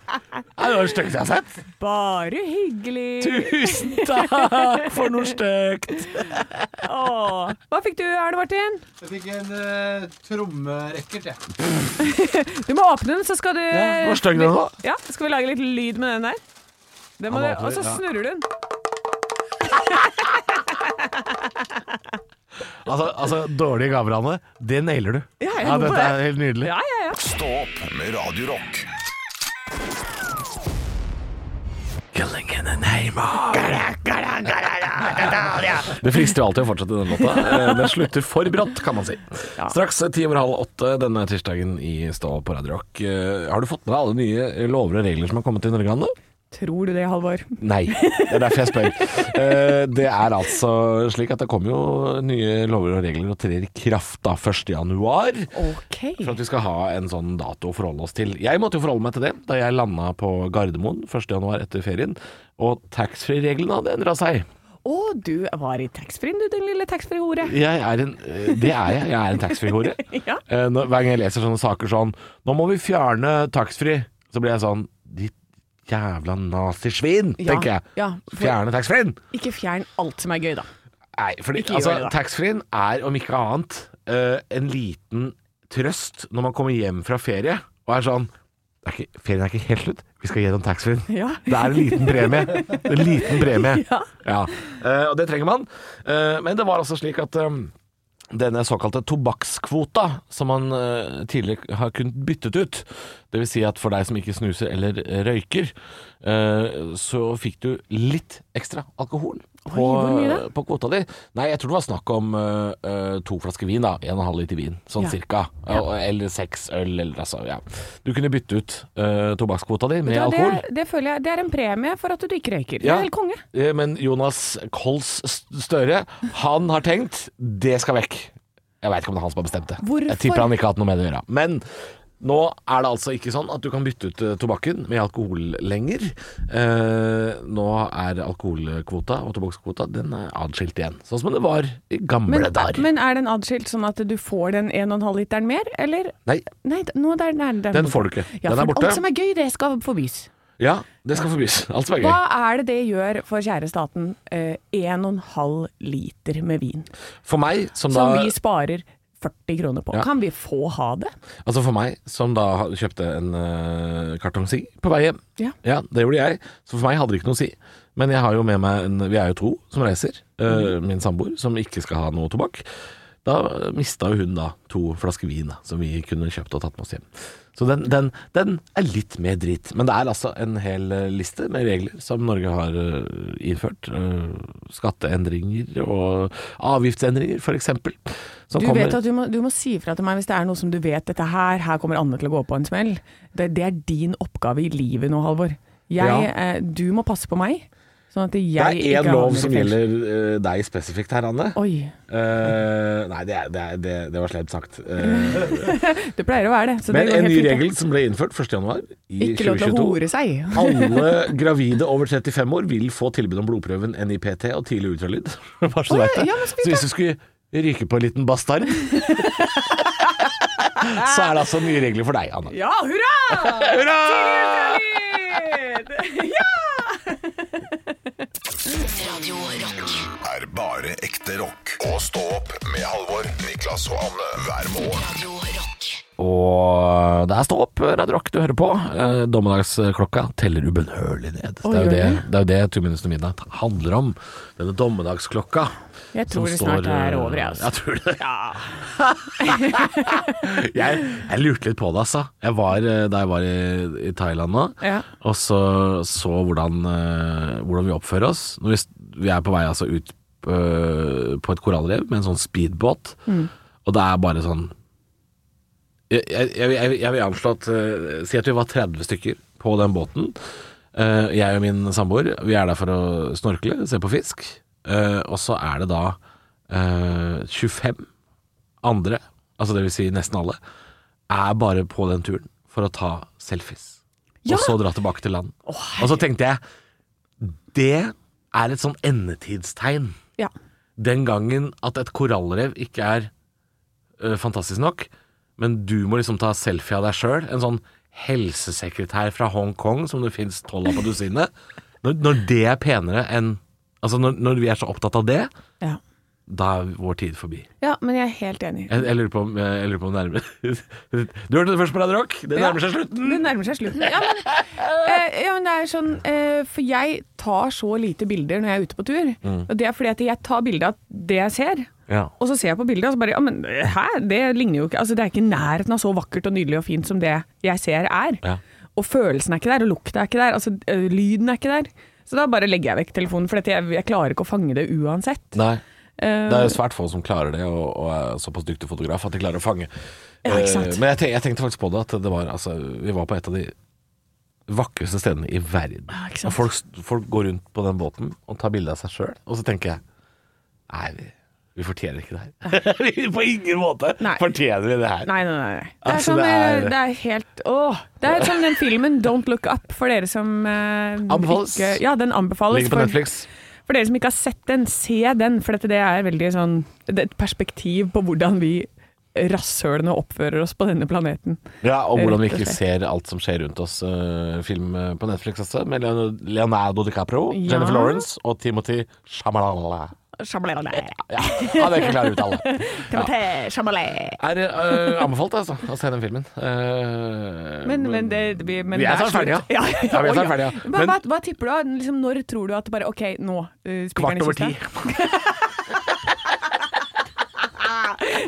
Det var det styggeste jeg har sett.
Bare hyggelig.
Tusen takk for noe stygt.
Åh. Hva fikk du, Arne Martin?
Jeg fikk en uh, trommerekkert, jeg.
Du må åpne den, så skal du
det var stygg den også.
Ja, skal vi lage litt lyd med den der? Det må
Ja, da
du,
åpner
og
vi,
så
ja.
snurrer du den.
Altså, altså dårlige gaver, Anne. Det nailer du.
Ja, jeg
ja,
tror på
dette er
det.
helt nydelig.
Ja, ja, ja.
Stå opp med Radio Rock.
Det frister jo alltid å fortsette den låta. Eh, Den slutter for brått, kan man si.
Ja.
Straks ti over halv åtte denne tirsdagen i Stå på Radio Rock. Eh, Har du fått med deg alle nye lover og regler som har kommet i Norge, Anne?
Tror du det, Halvor?
Nei, det er derfor jeg spør. Eh, Det er altså slik at det kommer jo nye lover og regler og trer i kraft da 1. januar.
Ok.
For at vi skal ha en sånn dato å forholde oss til. Jeg måtte jo forholde meg til det da jeg landa på Gardermoen 1. januar etter ferien. Og taxfree-reglene hadde endra seg.
Å, du var i taxfree-en, du, din lille taxfree-hore.
Jeg er en, eh, det er jeg. Jeg er en taxfree-hore.
Ja.
Eh, når- Hver gang jeg leser sånne saker sånn 'Nå må vi fjerne taxfree', så blir jeg sånn Ditt jævla nazisvin,
Ja,
tenker jeg.
ja, for-
Fjerne taxfree-en!
Ikke fjern alt som er gøy, da.
Nei, fordi
Ikke gjør det,
altså,
da.
taxfree-en er, om ikke annet, eh, en liten trøst når man kommer hjem fra ferie og er sånn det er ikke, Ferien er ikke helt slutt, vi skal gjennom taxfree-en.
Ja.
Det er en liten premie. Det er En liten premie.
Ja.
Eh, og det trenger man. Eh, men det var altså slik at eh, denne såkalte tobakkskvota, som man eh, tidligere har kunnet byttet ut. Det vil si at for deg som ikke snuser eller eh, røyker, eh, så fikk du litt ekstra alkohol på,
hvor mye da?
på kvota di. Nei, jeg tror det var snakk om eh, eh, to flasker vin, da. En og en halv liter vin, sånn
Ja.
cirka. Eh, Eller seks øl, eller altså, ja. Du kunne bytte ut uh, tobakkskvota di med
Ja, det,
alkohol.
det føler jeg Det er en premie for at du ikke røyker. Det
Ja.
er helt konge.
Eh, Men Jonas Kols Støre, han har tenkt det skal vekk. Jeg veit ikke om det er han som har bestemt det.
Hvorfor?
Jeg tipper han ikke har hatt noe med det å gjøre. Men nå er det altså ikke sånn at du kan bytte ut eh, tobakken med alkohol lenger. Eh, nå er alkoholkvota og tobakkskvota den er adskilt igjen. Sånn som det var i gamle
Men,
dager.
men er den adskilt sånn at du får den 1,5 literen mer, eller?
Nei,
Nei, d- nå der, der, der,
den får du ikke.
Ja,
den er
for
borte.
Alt som er gøy, det skal forbys.
Ja, det skal forbys. Alt som er gøy.
Hva er det det gjør for kjære staten? Eh, 1,5 liter med vin,
For meg som,
som
da
vi sparer 40 kroner på.
Ja.
Kan vi få ha det?
Altså for meg, som da ha- kjøpte en uh, kartong sigg på vei hjem.
Ja.
det gjorde jeg. Så for meg hadde det ikke noe å si. Men jeg har jo med meg en Vi er jo to som reiser. eh, Min samboer, som ikke skal ha noe tobakk. Da mista jo hun da to flasker vin da, som vi kunne kjøpt og tatt med oss hjem. Så den, den, den er litt mer drit. Men det er altså en hel eh, liste med regler som Norge har eh, innført. eh, Skatteendringer og avgiftsendringer, f.eks.
Du vet at du må, du må si ifra til meg hvis det er noe som du vet dette her, her kommer Anne til å gå på en smell. Det, det er din oppgave i livet nå, Halvor. Jeg,
Ja.
eh, du må passe på meg, sånn at
Det
jeg
er
ikke
én lov
havner i
som
fengsel.
gjelder eh, deg spesifikt her, Anne.
Oi,
Eh, nei, det, er, det, er, det, det var slemt sagt. Eh,
det pleier å være det. så det
men
går
en
helt
ny
fint, det.
regel som ble innført 1.1. i
Ikke lov til å
2022
hore seg.
Alle gravide over 35 år vil få tilbud om blodprøven NIPT og tidlig ultralyd. Bare så du
Å, ja,
vet det.
ja, men så fint,
så hvis du skulle ryke på en liten bastard Så er det altså nye regler for deg, Anne.
Ja, hurra!
Hurra!
Radio Rock.
er bare ekte rock. Og stå opp med Halvor, Niklas og Anne hver morgen.
Radio Rock.
Og det er Stå opp, Radio Rock du hører på. Eh, Dommedagsklokka teller ubønnhørlig ned. Det er, jo
gjør
det,
den?
det er jo det Two Minutes to Midnight handler om. Denne dommedagsklokka.
Jeg
som
tror det snart
står,
er over, jeg.
eh,
Altså.
tror det. jeg, jeg lurte litt på det, altså. Jeg var, eh, da jeg var i, i Thailand nå,
Ja.
og så så hvordan, eh, hvordan vi oppfører oss. Når vi, s- vi er på vei altså, ut eh, på et korallrev med en sånn speedbåt, og det er bare sånn jeg, jeg, jeg, jeg vil anslå at eh, Si at vi var 30 stykker på den båten. Eh, jeg og min samboer Vi er der for å snorkle, se på fisk. Eh, og så er det da eh, 25 andre, altså det vil si nesten alle, er bare på den turen for å ta selfies.
Ja.
Og så dra tilbake til land. og så tenkte jeg Det er et sånn endetidstegn.
Ja.
Den gangen at et korallrev ikke er eh, fantastisk nok, men du må liksom ta selfie av deg sjøl. En sånn helsesekretær fra Hongkong som det fins tolv av på dusinet. Når, når det er penere enn Altså, når, når vi er så opptatt av det,
Ja.
da er vår tid forbi.
ja, men jeg er helt enig.
Jeg, jeg lurer på om jeg lurer på om det nærmer Du hørte det først på Radio Rock. Det
Ja.
nærmer seg slutten.
Det nærmer seg slutten. Ja, men, eh, ja, men det er sånn eh, For jeg tar så lite bilder når jeg er ute på tur. Og det er fordi at jeg tar bilde av det jeg ser.
Ja.
Og så ser jeg på bildet, og så bare Ja, men eh, hæ? Det ligner jo ikke Altså, det er ikke i nærheten av så vakkert og nydelig og fint som det jeg ser er.
Ja.
Og følelsen er ikke der, og lukta er ikke der. Altså, ø, lyden er ikke der. Så da bare legger jeg vekk telefonen, for dette, jeg, jeg klarer ikke å fange det uansett.
Nei.
Eh,
Det er jo svært få som klarer det, og, og er såpass dyktig fotograf at de klarer å fange.
Ja, ikke sant?
Eh, Men jeg, te- jeg tenkte faktisk på det, at det var altså Vi var på et av de vakreste stedene i verden.
Ja, ikke sant?
og folk, s- folk går rundt på den båten og tar bilde av seg sjøl, og så tenker jeg Nei, vi, vi fortjener ikke det her. Vi- på ingen måte
Nei.
fortjener vi det her.
Nei, nei, nei. nei. Det er,
Altså,
sånn,
det
eh,
er-
det er helt Åh! Det er som den filmen 'Don't Look Up', for dere som eh,
Anbefales.
Ikke, ja, den anbefales.
Ligger på
For,
Netflix.
for dere som ikke har sett den, se den, for dette det er veldig sånn Det er et perspektiv på hvordan vi rasshølene oppfører oss på denne planeten.
Ja, og hvordan vi
Rett og
ikke ser alt som skjer rundt oss. eh, film eh, på Netflix også, med Leon- Leonardo DiCaprio,
Ja.
Jennifer Lawrence og Timothy Shamalala.
Sjamalé.
Ja, han er ikke klar å uttale. Ja.
Timothée Chalamet.
Er eh, anbefalt, altså, å se den filmen. Eh,
Men, men det, vi, men
Vi er
det
snart ferdige,
slutt.
ja.
Ja,
Ja, vi er snart
Oi,
ferdige, ja.
Hva,
Men-
hva, hva tipper du? da? Liksom, når tror du at det bare OK, nå uh,
Kvart over ti.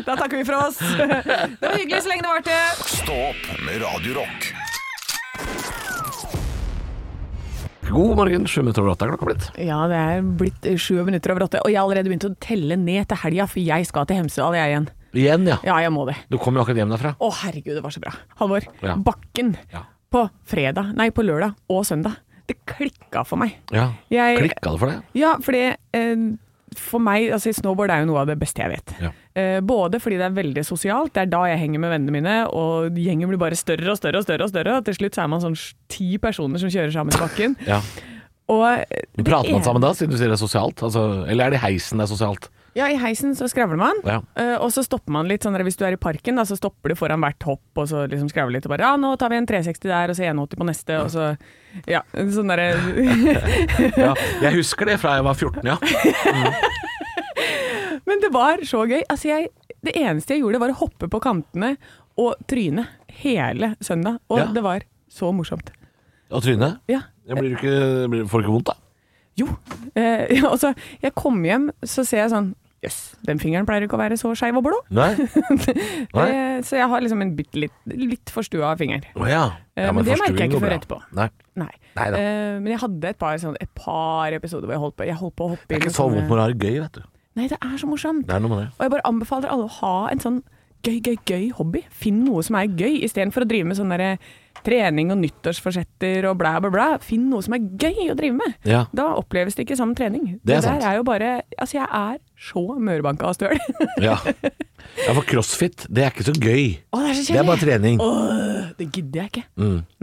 Da takker vi for oss. Det var hyggelig så lenge det varte.
Stå opp med Radio Rock.
God morgen, sju minutter over åtte er klokka blitt.
Ja, det er blitt eh, sju minutter over åtte, og jeg har allerede begynt å telle ned til helga, for jeg skal til Hemsedal, jeg igjen.
Igjen, ja.
Ja, jeg må det.
Du kom jo akkurat hjem derfra.
Å, herregud, det var så bra. Halvor,
Ja.
Bakken
Ja.
på fredag, nei, på lørdag og søndag. Det klikka for meg.
Ja.
Jeg-
Klikka det for deg?
Ja, fordi eh, for meg, altså snowboard er jo noe av det beste jeg vet.
Ja.
Eh, både fordi det er veldig sosialt, det er da jeg henger med vennene mine, og gjengen blir bare større og større og større, og større, og til slutt så er man sånn sj- ti personer som kjører sammen i bakken.
Ja.
Og eh, det
Prater man
er-
sammen da, siden du sier det er sosialt? Altså, eller er det i heisen det er sosialt?
Ja, i heisen så skravler man.
Ja.
eh, og så stopper man litt, sånn der, hvis du er i parken, da, så stopper du foran hvert hopp, og så liksom skravler litt, og bare ja, nå tar vi en 360 der, og så 180 på neste, og så ja, sånn derre
Ja. Jeg husker det fra jeg var 14, ja.
Men det var så gøy. Altså jeg, det eneste jeg gjorde, var å hoppe på kantene og tryne hele søndag. Og
Ja.
det var så morsomt.
Og Tryne?
Ja.
Jeg blir jo ikke, blir, får du ikke vondt, da?
Jo. Eh, ja, altså, jeg kom hjem, så ser jeg sånn Jøss, den fingeren pleier ikke å være så skeiv og blå.
Nei? Nei?
Eh, så jeg har liksom en bitte litt, litt forstua finger.
Å ja.
Eh,
ja
men det merker
forstuing
jeg ikke
går
før
bra.
etterpå.
Nei.
Nei.
Neida.
Eh, men jeg hadde et par, sånn, et par episoder hvor jeg holdt på, jeg holdt på å hoppe
Det er
inn i
ikke så
sånne-
vondt når du har det gøy, vet du.
Nei, det er så morsomt.
Det er noe med det.
Og jeg bare anbefaler alle å ha en sånn gøy, gøy, gøy hobby. Finn noe som er gøy, istedenfor å drive med sånn derre trening og nyttårsforsetter og blæ, blæ, blæ. Finn noe som er gøy å drive med.
Ja.
Da oppleves det ikke som trening.
Det er
der
sant.
er jo bare Altså, jeg er så mørbanka av støl.
Ja. ja, for crossfit, det er ikke så gøy.
Å, det er så
Det er bare
kjedelig!
trening.
Det gidder jeg ikke.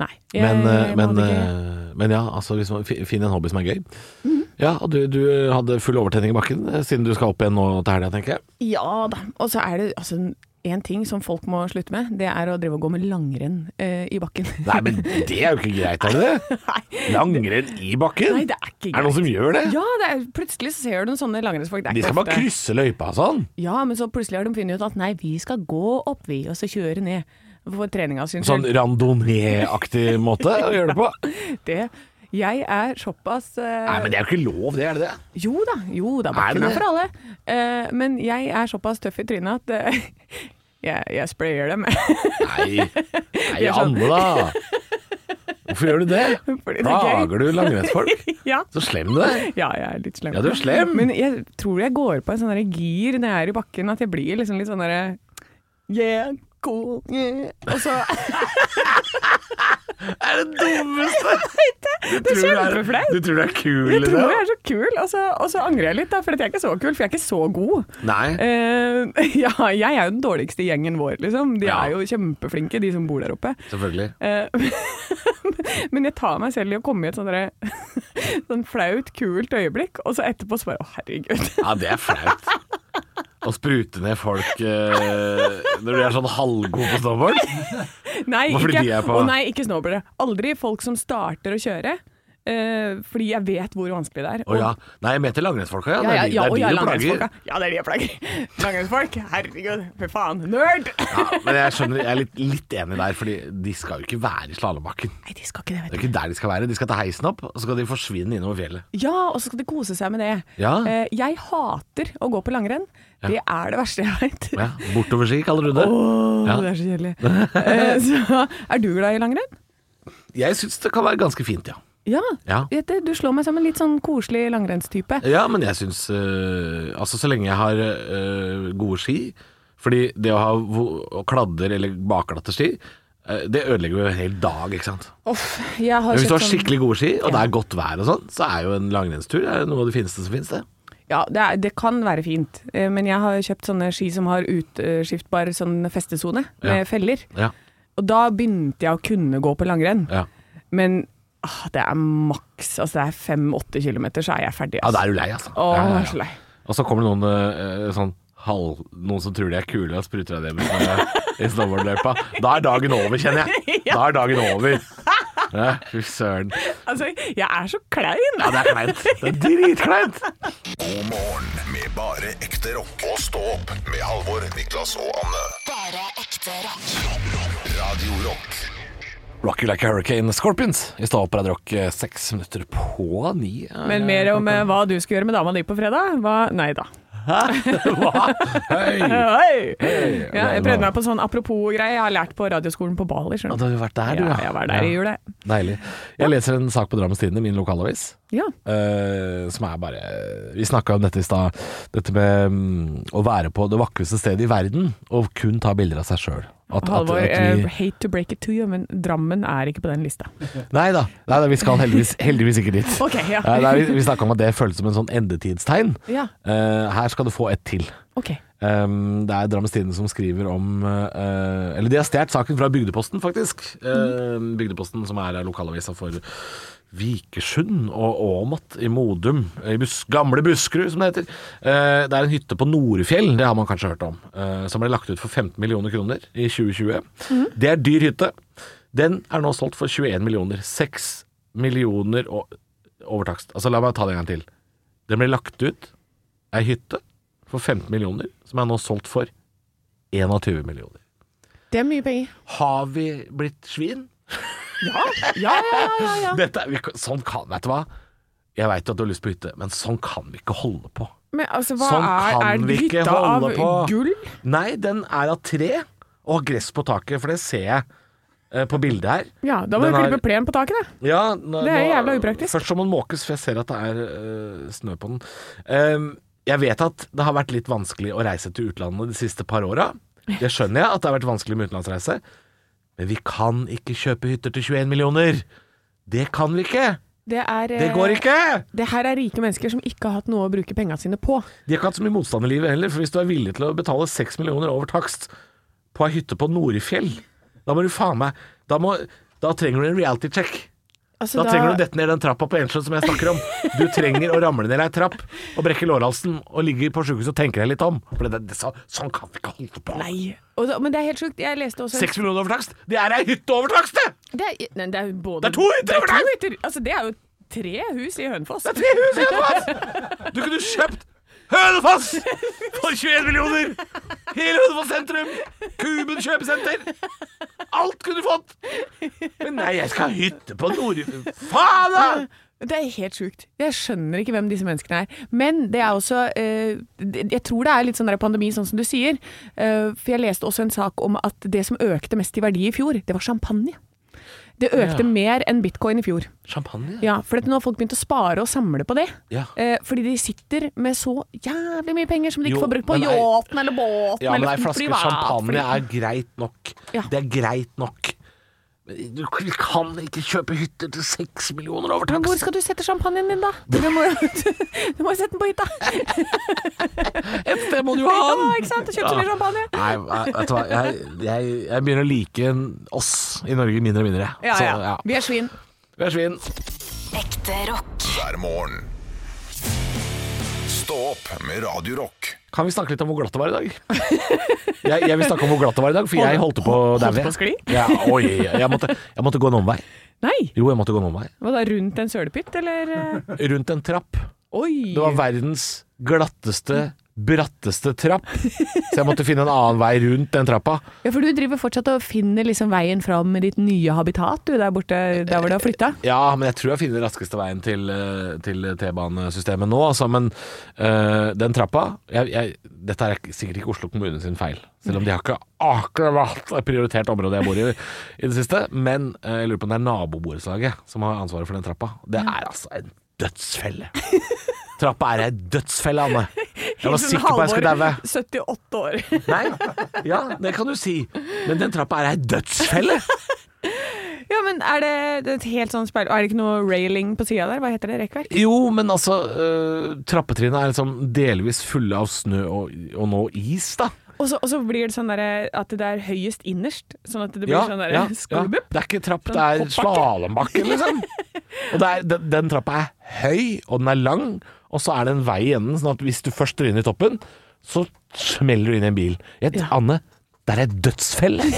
Nei. Jeg,
Men, eh,
jeg
men,
hadde ikke-
eh, men ja, altså hvis man fi- finner en hobby som er gøy.
Mhm.
Ja, og du, du hadde full overtenning i bakken eh, siden du skal opp igjen nå til helga, tenker jeg.
Ja da. Og så er det altså en ting som folk må slutte med, det er å drive og gå med langrenn eh, i bakken.
Nei, men det er jo ikke greit, er det det?
Nei.
Langrenn i bakken?
Nei, det er ikke greit.
det noen som gjør det?
Ja, det er, plutselig så ser du noen sånne langrennsfolk. Det er
De
ikke
skal bare
ofte.
krysse løypa og sånn.
Ja, men så plutselig har de funnet ut at nei, vi skal gå opp, vi, og så kjøre ned. For treninga sin
Sånn
skyld.
randonee-aktig måte å gjøre det på.
Det Jeg er såpass eh,
Nei, men det er jo ikke lov, det er det det?
Jo da, jo da, bakken
det det?
er, for alle. Eh, men jeg er såpass tøff i trynet at eh, jeg, jeg sprayer dem.
Nei, Nei
Det er sånn-
Anne da. Hvorfor gjør du det?
Fordi det er gøy.
Plager du langrennsfolk?
ja.
Så slem du er.
ja, jeg er litt slem.
Ja, du er slem.
Men jeg tror jeg går på en sånn derre gir når jeg er i bakken, at jeg blir liksom litt sånn derre Yeah, cool, yeah. Og så
Det er det dummeste! Du tror du er-
kjempeflaut.
Du tror du er kul liksom? i
Jeg tror jeg
det?
er så kul, og så, og så angrer jeg litt, da, for at jeg er ikke så kul, for jeg er ikke så god.
Nei.
Eh, ja, jeg er jo den dårligste i gjengen vår, liksom. De
Ja.
er jo kjempeflinke, de som bor der oppe.
Selvfølgelig.
Eh, men jeg tar meg selv i å komme i et sånn derre- sånn flaut, kult øyeblikk, og så etterpå så bare å herregud.
Ja, det er flaut. Å sprute ned folk eh, når du er sånn halvgod på snowboard.
Nei,
Hvorfor
ikke,
de er på-
å nei, ikke snowboardere. Aldri folk som starter å kjøre, eh, fordi jeg vet hvor vanskelig det er.
Å ja. Nei, jeg mente langrennsfolka, ja.
Ja, ja,
Det
ja,
er de-
og
det er de
jeg er
du plager.
langrennsfolk. ja. Ja, det er de jeg plager. Langrennsfolk, herregud, fy faen, nerd!
Ja, men jeg skjønner, jeg er litt, litt enig der, Fordi de skal jo ikke være i slalåmbakken.
Nei, de skal ikke
Det
det,
er
vet du.
ikke der de skal være. De skal ta heisen opp, og så skal de forsvinne innover fjellet.
Ja, og så skal de kose seg med det.
Ja.
Eh, jeg hater å gå på langrenn. Det er det verste jeg vet.
Ja, Bortoverski, kaller du det.
Åh,
Ja.
det er så kjedelig. Eh, så, er du glad i langrenn?
Jeg syns det kan være ganske fint, ja.
Ja.
Ja. Eh.
Vet Du du slår meg som en litt sånn koselig langrennstype.
Ja, men jeg syns øh, Altså, så lenge jeg har øh, gode ski Fordi det å ha vo- kladder eller bakglatte ski, øh, det ødelegger jo en hel dag, ikke sant.
Uff, jeg har
Men hvis du
kjøpt
har
sånn-
skikkelig gode ski, og det er godt vær og sånn, så er jo en langrennstur er noe av det fineste som finnes, det.
Ja, det, er, det kan være fint, eh, men jeg har kjøpt sånne ski som har utskiftbar sånn festesone med
Ja.
feller.
Ja.
Og da begynte jeg å kunne gå på langrenn.
Ja,
Men ah, det er maks, altså det er fem-åtte kilometer, så er jeg ferdig.
ja
Altså.
da er du lei, altså.
Åh,
ja, ja,
jeg er så
ja.
lei.
Og så kommer det noen øh, sånn halv Noen som tror de er kule og spruter deg ned med- i snowboardløypa. Da er dagen over, kjenner jeg. Da er dagen over. Ja, Fy søren.
Altså, jeg er så klein!
Ja, det er kleint. Det er dritkleint.
God morgen med bare ekte rock. Og stå opp med Halvor, Niklas og Anne.
Bare ekte rock.
Radio Rock.
Rock You Like a Hurricane Scorpions i Stad Opera Rock eh, seks minutter på ni. eh,
Men mer om eh, hva du skal gjøre med dama di på fredag? Hva? Nei da.
Hva? Hei!
Hei!
Hei.
Ja, jeg prøvde meg på sånn apropos-greie jeg har lært på radioskolen på Bali.
Ja,
skjønner
du har jo vært der, du.
Ja, jeg var der i jula.
Deilig. Jeg leser en sak på Drammens Tidende, min lokalavis.
du. Ja.
eh, som er bare Vi snakka om dette i stad. Dette med mm, å være på det vakreste stedet i verden og kun ta bilder av seg sjøl.
Halvor, eh, hate to break it to you, men Drammen er ikke på den lista.
Nei da, nei, da vi skal heldigvis, heldigvis ikke dit.
Ok, ja.
Eh, nei, vi vi snakka om at det føles som en sånn endetidstegn.
Ja.
Eh, her skal du få et til.
Ok.
Um, det er Drammens Tidende som skriver om eh, Eller de har stjålet saken fra Bygdeposten, faktisk. Eh, Bygdeposten som er lokalavisa for Vikersund og Åmot i Modum. I Bus gamle Buskerud, som det heter. Eh, det er en hytte på Norefjell, det har man kanskje hørt om. eh, som ble lagt ut for 15 millioner kroner i 2020. Det er dyr hytte. Den er nå solgt for 21 millioner. 6 millioner og overtakst. Altså, la meg ta det en gang til. Den ble lagt ut ei hytte for 15 millioner, som er nå solgt for 21 millioner.
Det er mye penger.
Har vi blitt svin?
Ja, ja, ja. ja, ja.
Dette, er- vi, kan- sånn kan, vet du hva? Jeg veit at du har lyst på hytte, men sånn kan vi ikke holde på.
Men altså, hva
Sånn
er,
kan
er
vi ikke
hytta av
holde på.
gull?
Nei, den er av tre og har gress på taket, for det ser jeg eh, på bildet her.
Ja, da må
Den
du klippe
er-
plen på taket, da.
Ja, nå-
Det er
nå-
jævla upraktisk.
Først så må den måkes, for jeg ser at det er eh, snø på den. Ehm, jeg vet at det har vært litt vanskelig å reise til utlandet de siste par åra. Det skjønner jeg, at det har vært vanskelig med utenlandsreise. Men vi kan ikke kjøpe hytter til 21 millioner! Det kan vi ikke!
Det, er, eh,
Det går ikke!
det her er rike mennesker som ikke har hatt noe å bruke penga sine på.
De har ikke hatt så mye motstand i livet heller, for hvis du er villig til å betale 6 millioner over takst på ei hytte på Norefjell, da må du faen meg Da, må, da trenger du en reality check.
Altså,
Da trenger du å dette ned den trappa på Ensjøen som jeg snakker om. Du trenger å ramle ned ei trapp og brekke lårhalsen og ligge på sjukehuset og tenke deg litt om. For det, det, så, sånn kan vi ikke holde på.
Nei. sånn- Og da, men det er helt sjukt. Jeg leste også
Seks millioner over takst? Det er ei hytte over takst, det!
Det er, nei, det er, både,
Det er to hytter
det er
over
to
der!
hytter! Altså, det er jo tre hus i Hønefoss.
Det er tre hus i Hønefoss! Du kunne kjøpt Hønefoss for 21 millioner! Hele Hønefoss sentrum! Kuben kjøpesenter! Alt kunne du fått! Men nei, jeg skal ha hytte på Nord... Faen, da!
Det er helt sjukt. Jeg skjønner ikke hvem disse menneskene er. Men det er også eh, det- Jeg tror det er litt sånn der pandemi, sånn som du sier. Eh, for jeg leste også en sak om at det som økte mest i verdi i fjor, det var champagne. Det økte
Ja.
mer enn bitcoin i fjor.
Champagne?
Ja, For at nå har folk begynt å spare og samle på det.
Ja.
Eh, fordi de sitter med så jævlig mye penger som de ikke
Jo,
får brukt på
men ei-
yachten eller båten
Ja, men
eller
ei flaske
privatfly.
champagne er greit nok.
Ja.
Det er greit nok. Men Du kan ikke kjøpe hytter til seks millioner over
Men hvor
takst.
skal du sette champagnen din, da? Du må jo du må jo sette den på hytta!
Et sted må du jo ha
Ja,
den!
ikke sant? Kjøp så mye champagne.
Nei, jeg- vet du hva. Jeg, jeg, jeg begynner å like oss i Norge mindre og mindre.
Ja,
Så,
ja. Vi er svin.
Vi er svin.
Ekte rock.
hver morgen. Stå opp med Radio Rock.
Kan vi snakke litt om hvor glatt det var i dag? Jeg, jeg vil snakke om hvor glatt det var i dag, for jeg holdt på å
Holdt
daue.
på å skli?
Ja, oi, jeg måtte, jeg måtte gå en omvei.
Nei!
Jo, jeg måtte gå en omvei.
Var det rundt en sølepytt, eller? eh?
Rundt en trapp.
Oi!
Det var verdens glatteste, bratteste trapp. Så jeg måtte finne en annen vei rundt den trappa.
Ja, for du driver fortsatt og finner liksom veien fram med ditt nye habitat, du, der borte, der hvor du har flytta.
Ja, men jeg tror jeg finner den raskeste veien til, eh, til T-banesystemet nå, altså. Men eh, den trappa jeg, jeg, Dette er ikke- sikkert ikke Oslo kommune sin feil. Selv om de har ikke akkurat prioritert området jeg bor i i det siste. Men eh, jeg lurer på om det er naboborettslaget som har ansvaret for den trappa. Det er altså en dødsfelle. Trappa er ei dødsfelle, Anne. Jeg
sånn
var sikker på at jeg skulle daue.
78 år.
Nei, ja, det kan du si. Men den trappa er ei dødsfelle.
Ja, men er det et helt sånn speil... Er det ikke noe railing på sida der? Hva heter det? Rekkverk?
Jo, men altså, øh, trappetrinnet er liksom delvis fulle av snø og, og nå is, da.
Og så og så blir det sånn der at det er høyest innerst, sånn at det blir sånn der skolbupp.
Det er ikke trapp, det
Sånn
er slalåmbakke, liksom. Og det er, den, den trappa er høy, og den er lang, og så er det en vei i enden, sånn at hvis du først tryner i toppen, så smeller du inn i en bil. Jeg, Anne, det er ei dødsfelle.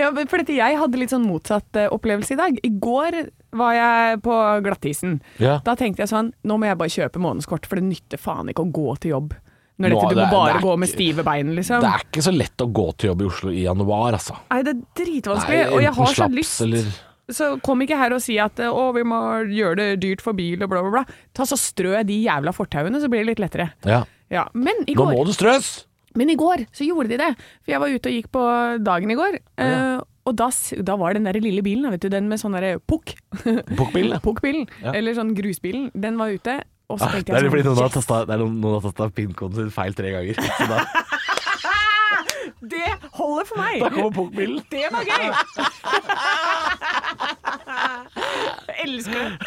Ja, men for dette, jeg hadde litt sånn motsatt eh, opplevelse i dag. I går var jeg på glattisen.
Ja.
Da tenkte jeg sånn, nå må jeg bare kjøpe månedskort, for det nytter faen ikke å gå til jobb. Når
Nå,
dette, du
det
må
er-
bare
det er
gå med
ikke-
stive bein, liksom.
Det er ikke så lett å gå til jobb i Oslo i januar, altså.
Nei, det er dritvanskelig,
Nei,
og jeg har
enten
så
slaps
lyst.
eller-
Så kom ikke her og si at eh, å, vi må gjøre det dyrt for bil og bla, bla, bla. Ta så strø de jævla fortauene, så blir det litt lettere.
Ja.
Ja, men i
Nå
går
må du strøs!
Men i går så gjorde de det. For jeg var ute og gikk på dagen i går. eh, og da, s- da var den der lille bilen, vet du, den med sånn der pukk.
Pukkbilen, ja.
Pukkbilen,
Ja.
eller sånn grusbilen, den var ute. Og så
Ah,
tenkte
det er
jeg
fordi noen har
sånn, yes,
tasta, det er noen, noen har tasta pin-koden sin feil tre ganger. Så da,
det holder for meg!
da kommer pukkbilen.
Det var gøy! Jeg elsker det.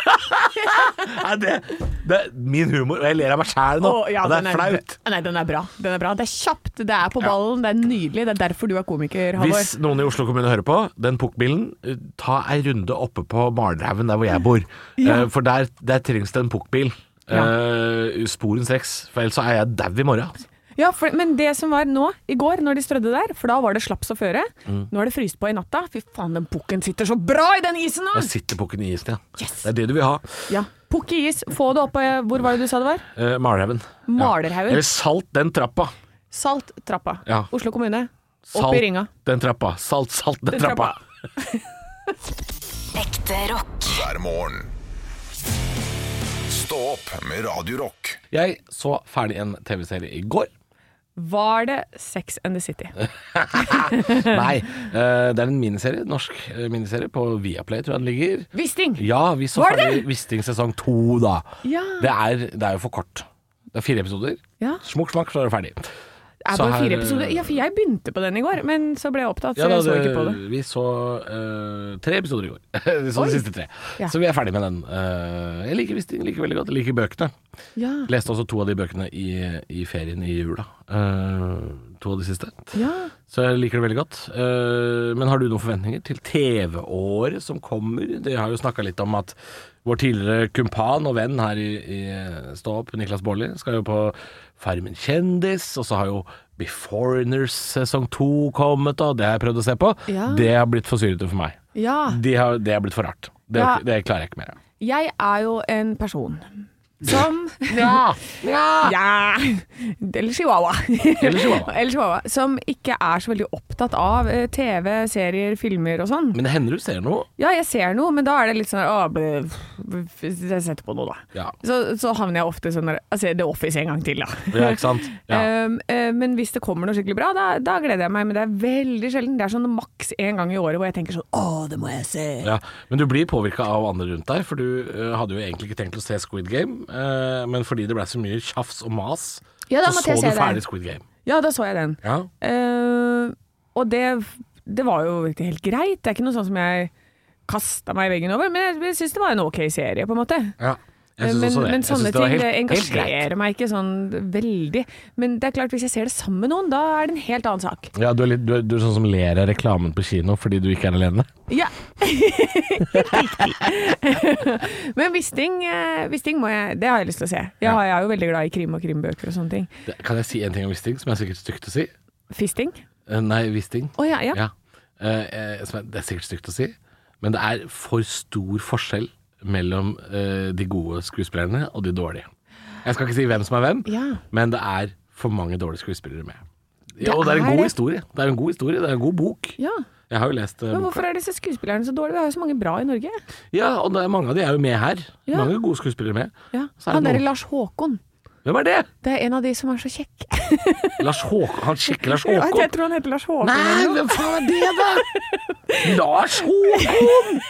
Nei, det, det er min humor, og jeg ler av meg sjæl nå.
Å, ja,
og det
den
er flaut.
Nei, den er bra. Den er bra. Det er kjapt, det er på ballen, det er nydelig. Det er derfor du er komiker, Halvor.
Hvis noen i Oslo kommune hører på, den pukkbilen, eh, ta ei runde oppe på Malhaugen, der hvor jeg bor. Eh, For der, der trengs det en pukkbil. Eh, sporenstreks. For ellers så er jeg dau i morgen. altså.
Ja, for, men det som var nå, i går, når de strødde der, for da var det slaps å føre.
Mm.
Nå er det fryst på i natta. Fy faen, den pukken sitter så bra i den isen nå!
Da sitter pukken i isen igjen.
Yes.
Det er det du vil ha.
Ja, Pukk i is, få det opp eh, Hvor var det du sa det var?
Eh, Malhaugen.
Malerhaugen.
Eller salt den trappa.
Salttrappa.
Ja.
Oslo kommune. Opp
Salt
i ringa.
den trappa. Salt, salt den,
Den
trappa.
trappa.
Ekte rock.
hver morgen. Stå opp med Radio Rock.
Jeg så ferdig en TV-serie i går.
Var det Sex and the City?
Eh. Nei, eh, det er en miniserie, norsk eh, miniserie på Viaplay, tror jeg den ligger.
Wisting!
Ja, vi så
Var det
ferdig Wisting sesong to, da.
Ja.
Det, er, det er jo for kort. Det er fire episoder.
Ja.
Smukk smakk, så er det ferdig.
Det er
Så
bare
her- eh,
fire episoder. Ja, for jeg begynte på den i går, men så ble jeg opptatt, så
Ja, da,
jeg så ikke på det.
Vi så eh, tre episoder i går. vi så
Oi.
de siste tre.
Ja.
Så vi er ferdig med den. Eh, jeg liker Wisting liker veldig godt. Jeg liker bøkene.
Ja.
Leste også to av de bøkene i, i ferien i jula. Eh, to av de siste.
ja.
Så jeg liker det veldig godt. Eh, men har du noen forventninger til TV-året som kommer? Det har jo snakka litt om at vår tidligere kumpan og venn her i, i eh, Stå opp, Niklas Baarli, skal jo på Farmen kjendis, og så har jo Beforeigners sesong to kommet, og det har jeg prøvd å se på.
Ja.
Det har blitt for syrete for meg.
ja.
Det har, det har blitt for rart. Det,
Ja.
det klarer jeg ikke mer av.
Jeg er jo en person som
Ja.
Ja! Eller chihuahua.
Eller chihuahua.
Eller chihuahua. Som ikke er så veldig opptatt av eh, TV, serier, filmer og sånn.
Men det hender du ser noe.
Ja, jeg ser noe, men da er det litt sånn her, «Å, ble- f- f- Jeg setter på noe, da.
Ja.
Så, så havner jeg ofte sånn der Jeg ser The Office en gang til, da.
Ja, ikke sant? Ja.
Um, eh, men hvis det kommer noe skikkelig bra, da, da gleder jeg meg. Men det er veldig sjelden. Det er sånn maks én gang i året hvor jeg tenker sånn Å, det må jeg se.
Ja, Men du blir påvirka av andre rundt deg, for du eh, hadde jo egentlig ikke tenkt å se Squid Game, eh, men fordi det blei så mye tjafs og mas,
Ja, da
så
måtte
så
jeg
du
se det.
ferdig Squid Game.
Ja, da så jeg den.
Ja.
Eh, og det, det var jo virkelig helt greit. Det er ikke noe sånn som jeg kasta meg i veggen over, men jeg, jeg syns det var en ok serie, på en måte.
Jeg syns
men,
også det.
men
Jeg synes
sånne
det var
ting det
helt- helt greit.
engasjerer meg ikke sånn veldig. Men det er klart, hvis jeg ser det sammen med noen, da er det en helt annen sak.
Ja, du er, litt, du, er, du er sånn som ler av reklamen på kino fordi du ikke er alene.
Ja. men Wisting eh, Wisting må jeg Det har jeg lyst til å se. Jeg, har- jeg er jo veldig glad i krim og krimbøker og sånne ting.
Det, kan jeg si en ting om Wisting, som er sikkert stygt å si?
Fisting?
Eh, nei, Wisting.
Å ja, ja.
Ja. Eh, eh, som er, det er sikkert stygt å si, men det er for stor forskjell mellom eh, de gode skuespillerne og de dårlige. Jeg skal ikke si hvem som er hvem,
Ja.
men det er for mange dårlige skuespillere med.
Det
Ja, og det er en
er
god
det.
historie. Det er en god historie, det er en god bok.
ja.
Jeg har jo lest eh,
Men
boka.
hvorfor er disse skuespillerne så dårlige? Vi har jo så mange bra i Norge.
Ja, og det er mange av de er jo med her.
Ja.
Mange gode skuespillere med.
Ja.
Så er
Han
det
derre
noen-
Lars Håkon.
Hvem er det?
Det er en av de som er så kjekk.
Lars Håkon? Han sjekker Lars
Jeg
Håkon?
tror han heter Lars Håkon.
Nei,
eller noe.
hvem faen er det, da? Lars Håkon!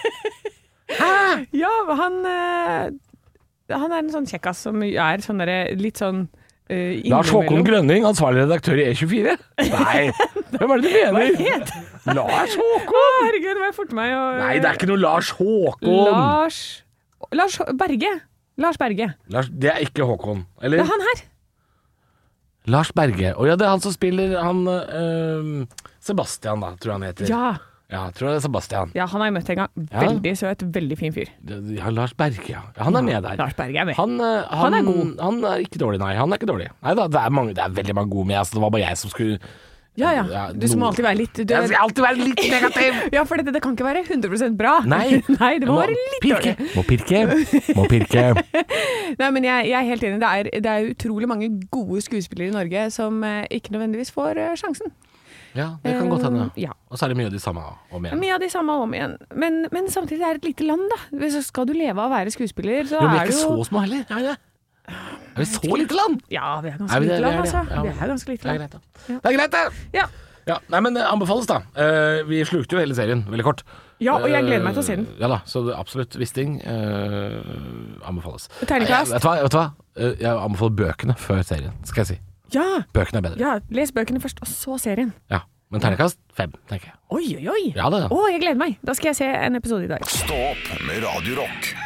Hæ?
Ja, han eh, Han er en sånn kjekkas som er sånn derre litt sånn eh,
Lars Håkon
innimellom.
Grønning, ansvarlig redaktør i E24? Nei, hvem er det du mener?
Het-
Lars
Å,
Håkon?
herregud, nå må jeg forte meg å
Nei, det er ikke noe Lars Håkon.
Lars Lars Berge. Lars Berge.
Lars, det er ikke Håkon.
Det
Eller?
er han her.
Lars Berge. Å ja, det er han som spiller han eh, Sebastian, da, tror jeg han heter.
Ja.
Ja, jeg tror det er Sebastian.
ja, han har jeg møtt en gang. Veldig søt, veldig fin fyr.
Det- Ja, Lars Berge, ja. Ja, Han er med der.
Lars Berge er med.
Han, eh, han,
Han er god.
Han er ikke dårlig, nei. Han er ikke dårlig. Nei da, det er, mange, det er veldig mange gode med. Altså, det var bare jeg som skulle
Ja ja.
Ja,
Du som
noe-
alltid være litt du,
Jeg skal alltid være litt negativ!
Ja, for dette det kan ikke være 100 bra.
Nei.
det
Jeg
må være litt dårlig.
pirke. Må pirke. Må pirke.
Nei, men jeg, jeg er helt enig. Det er, det er utrolig mange gode skuespillere i Norge som eh, ikke nødvendigvis får eh, sjansen.
Ja, det kan godt hende.
Eh, ja.
Og så er det mye av de samme om igjen.
Mye av de samme om igjen. Men, men samtidig er det et lite land, da. Hvis- Skal du leve av å være skuespiller, så
Jo, vi er
er
ikke
du
så
jo
små heller, er vi det? Er vi så lite land?
Ja, vi er ganske
Er vi det?
lite land,
Vi er det,
altså.
ja.
Vi er ganske lite
Det er
land.
greit, da. Det er greit, det!
Ja.
Ja, nei, men eh, anbefales, da. Eh, vi slukte jo hele serien, veldig kort.
ja, og jeg gleder meg til å se den.
Eh, Ja da, så det er absolutt Wisting eh, anbefales.
Terningkast.
Nei, Vet du hva? Vet du hva? Eh, Jeg anbefaler bøkene før serien, skal jeg si.
Ja,
Bøkene er bedre.
ja, les bøkene først, og så serien.
Ja. Men terningkast fem, tenker jeg.
Oi, oi, oi!
Ja da.
Å, jeg gleder meg! Da skal jeg se en episode i dag.
Stå opp med Radio Rock.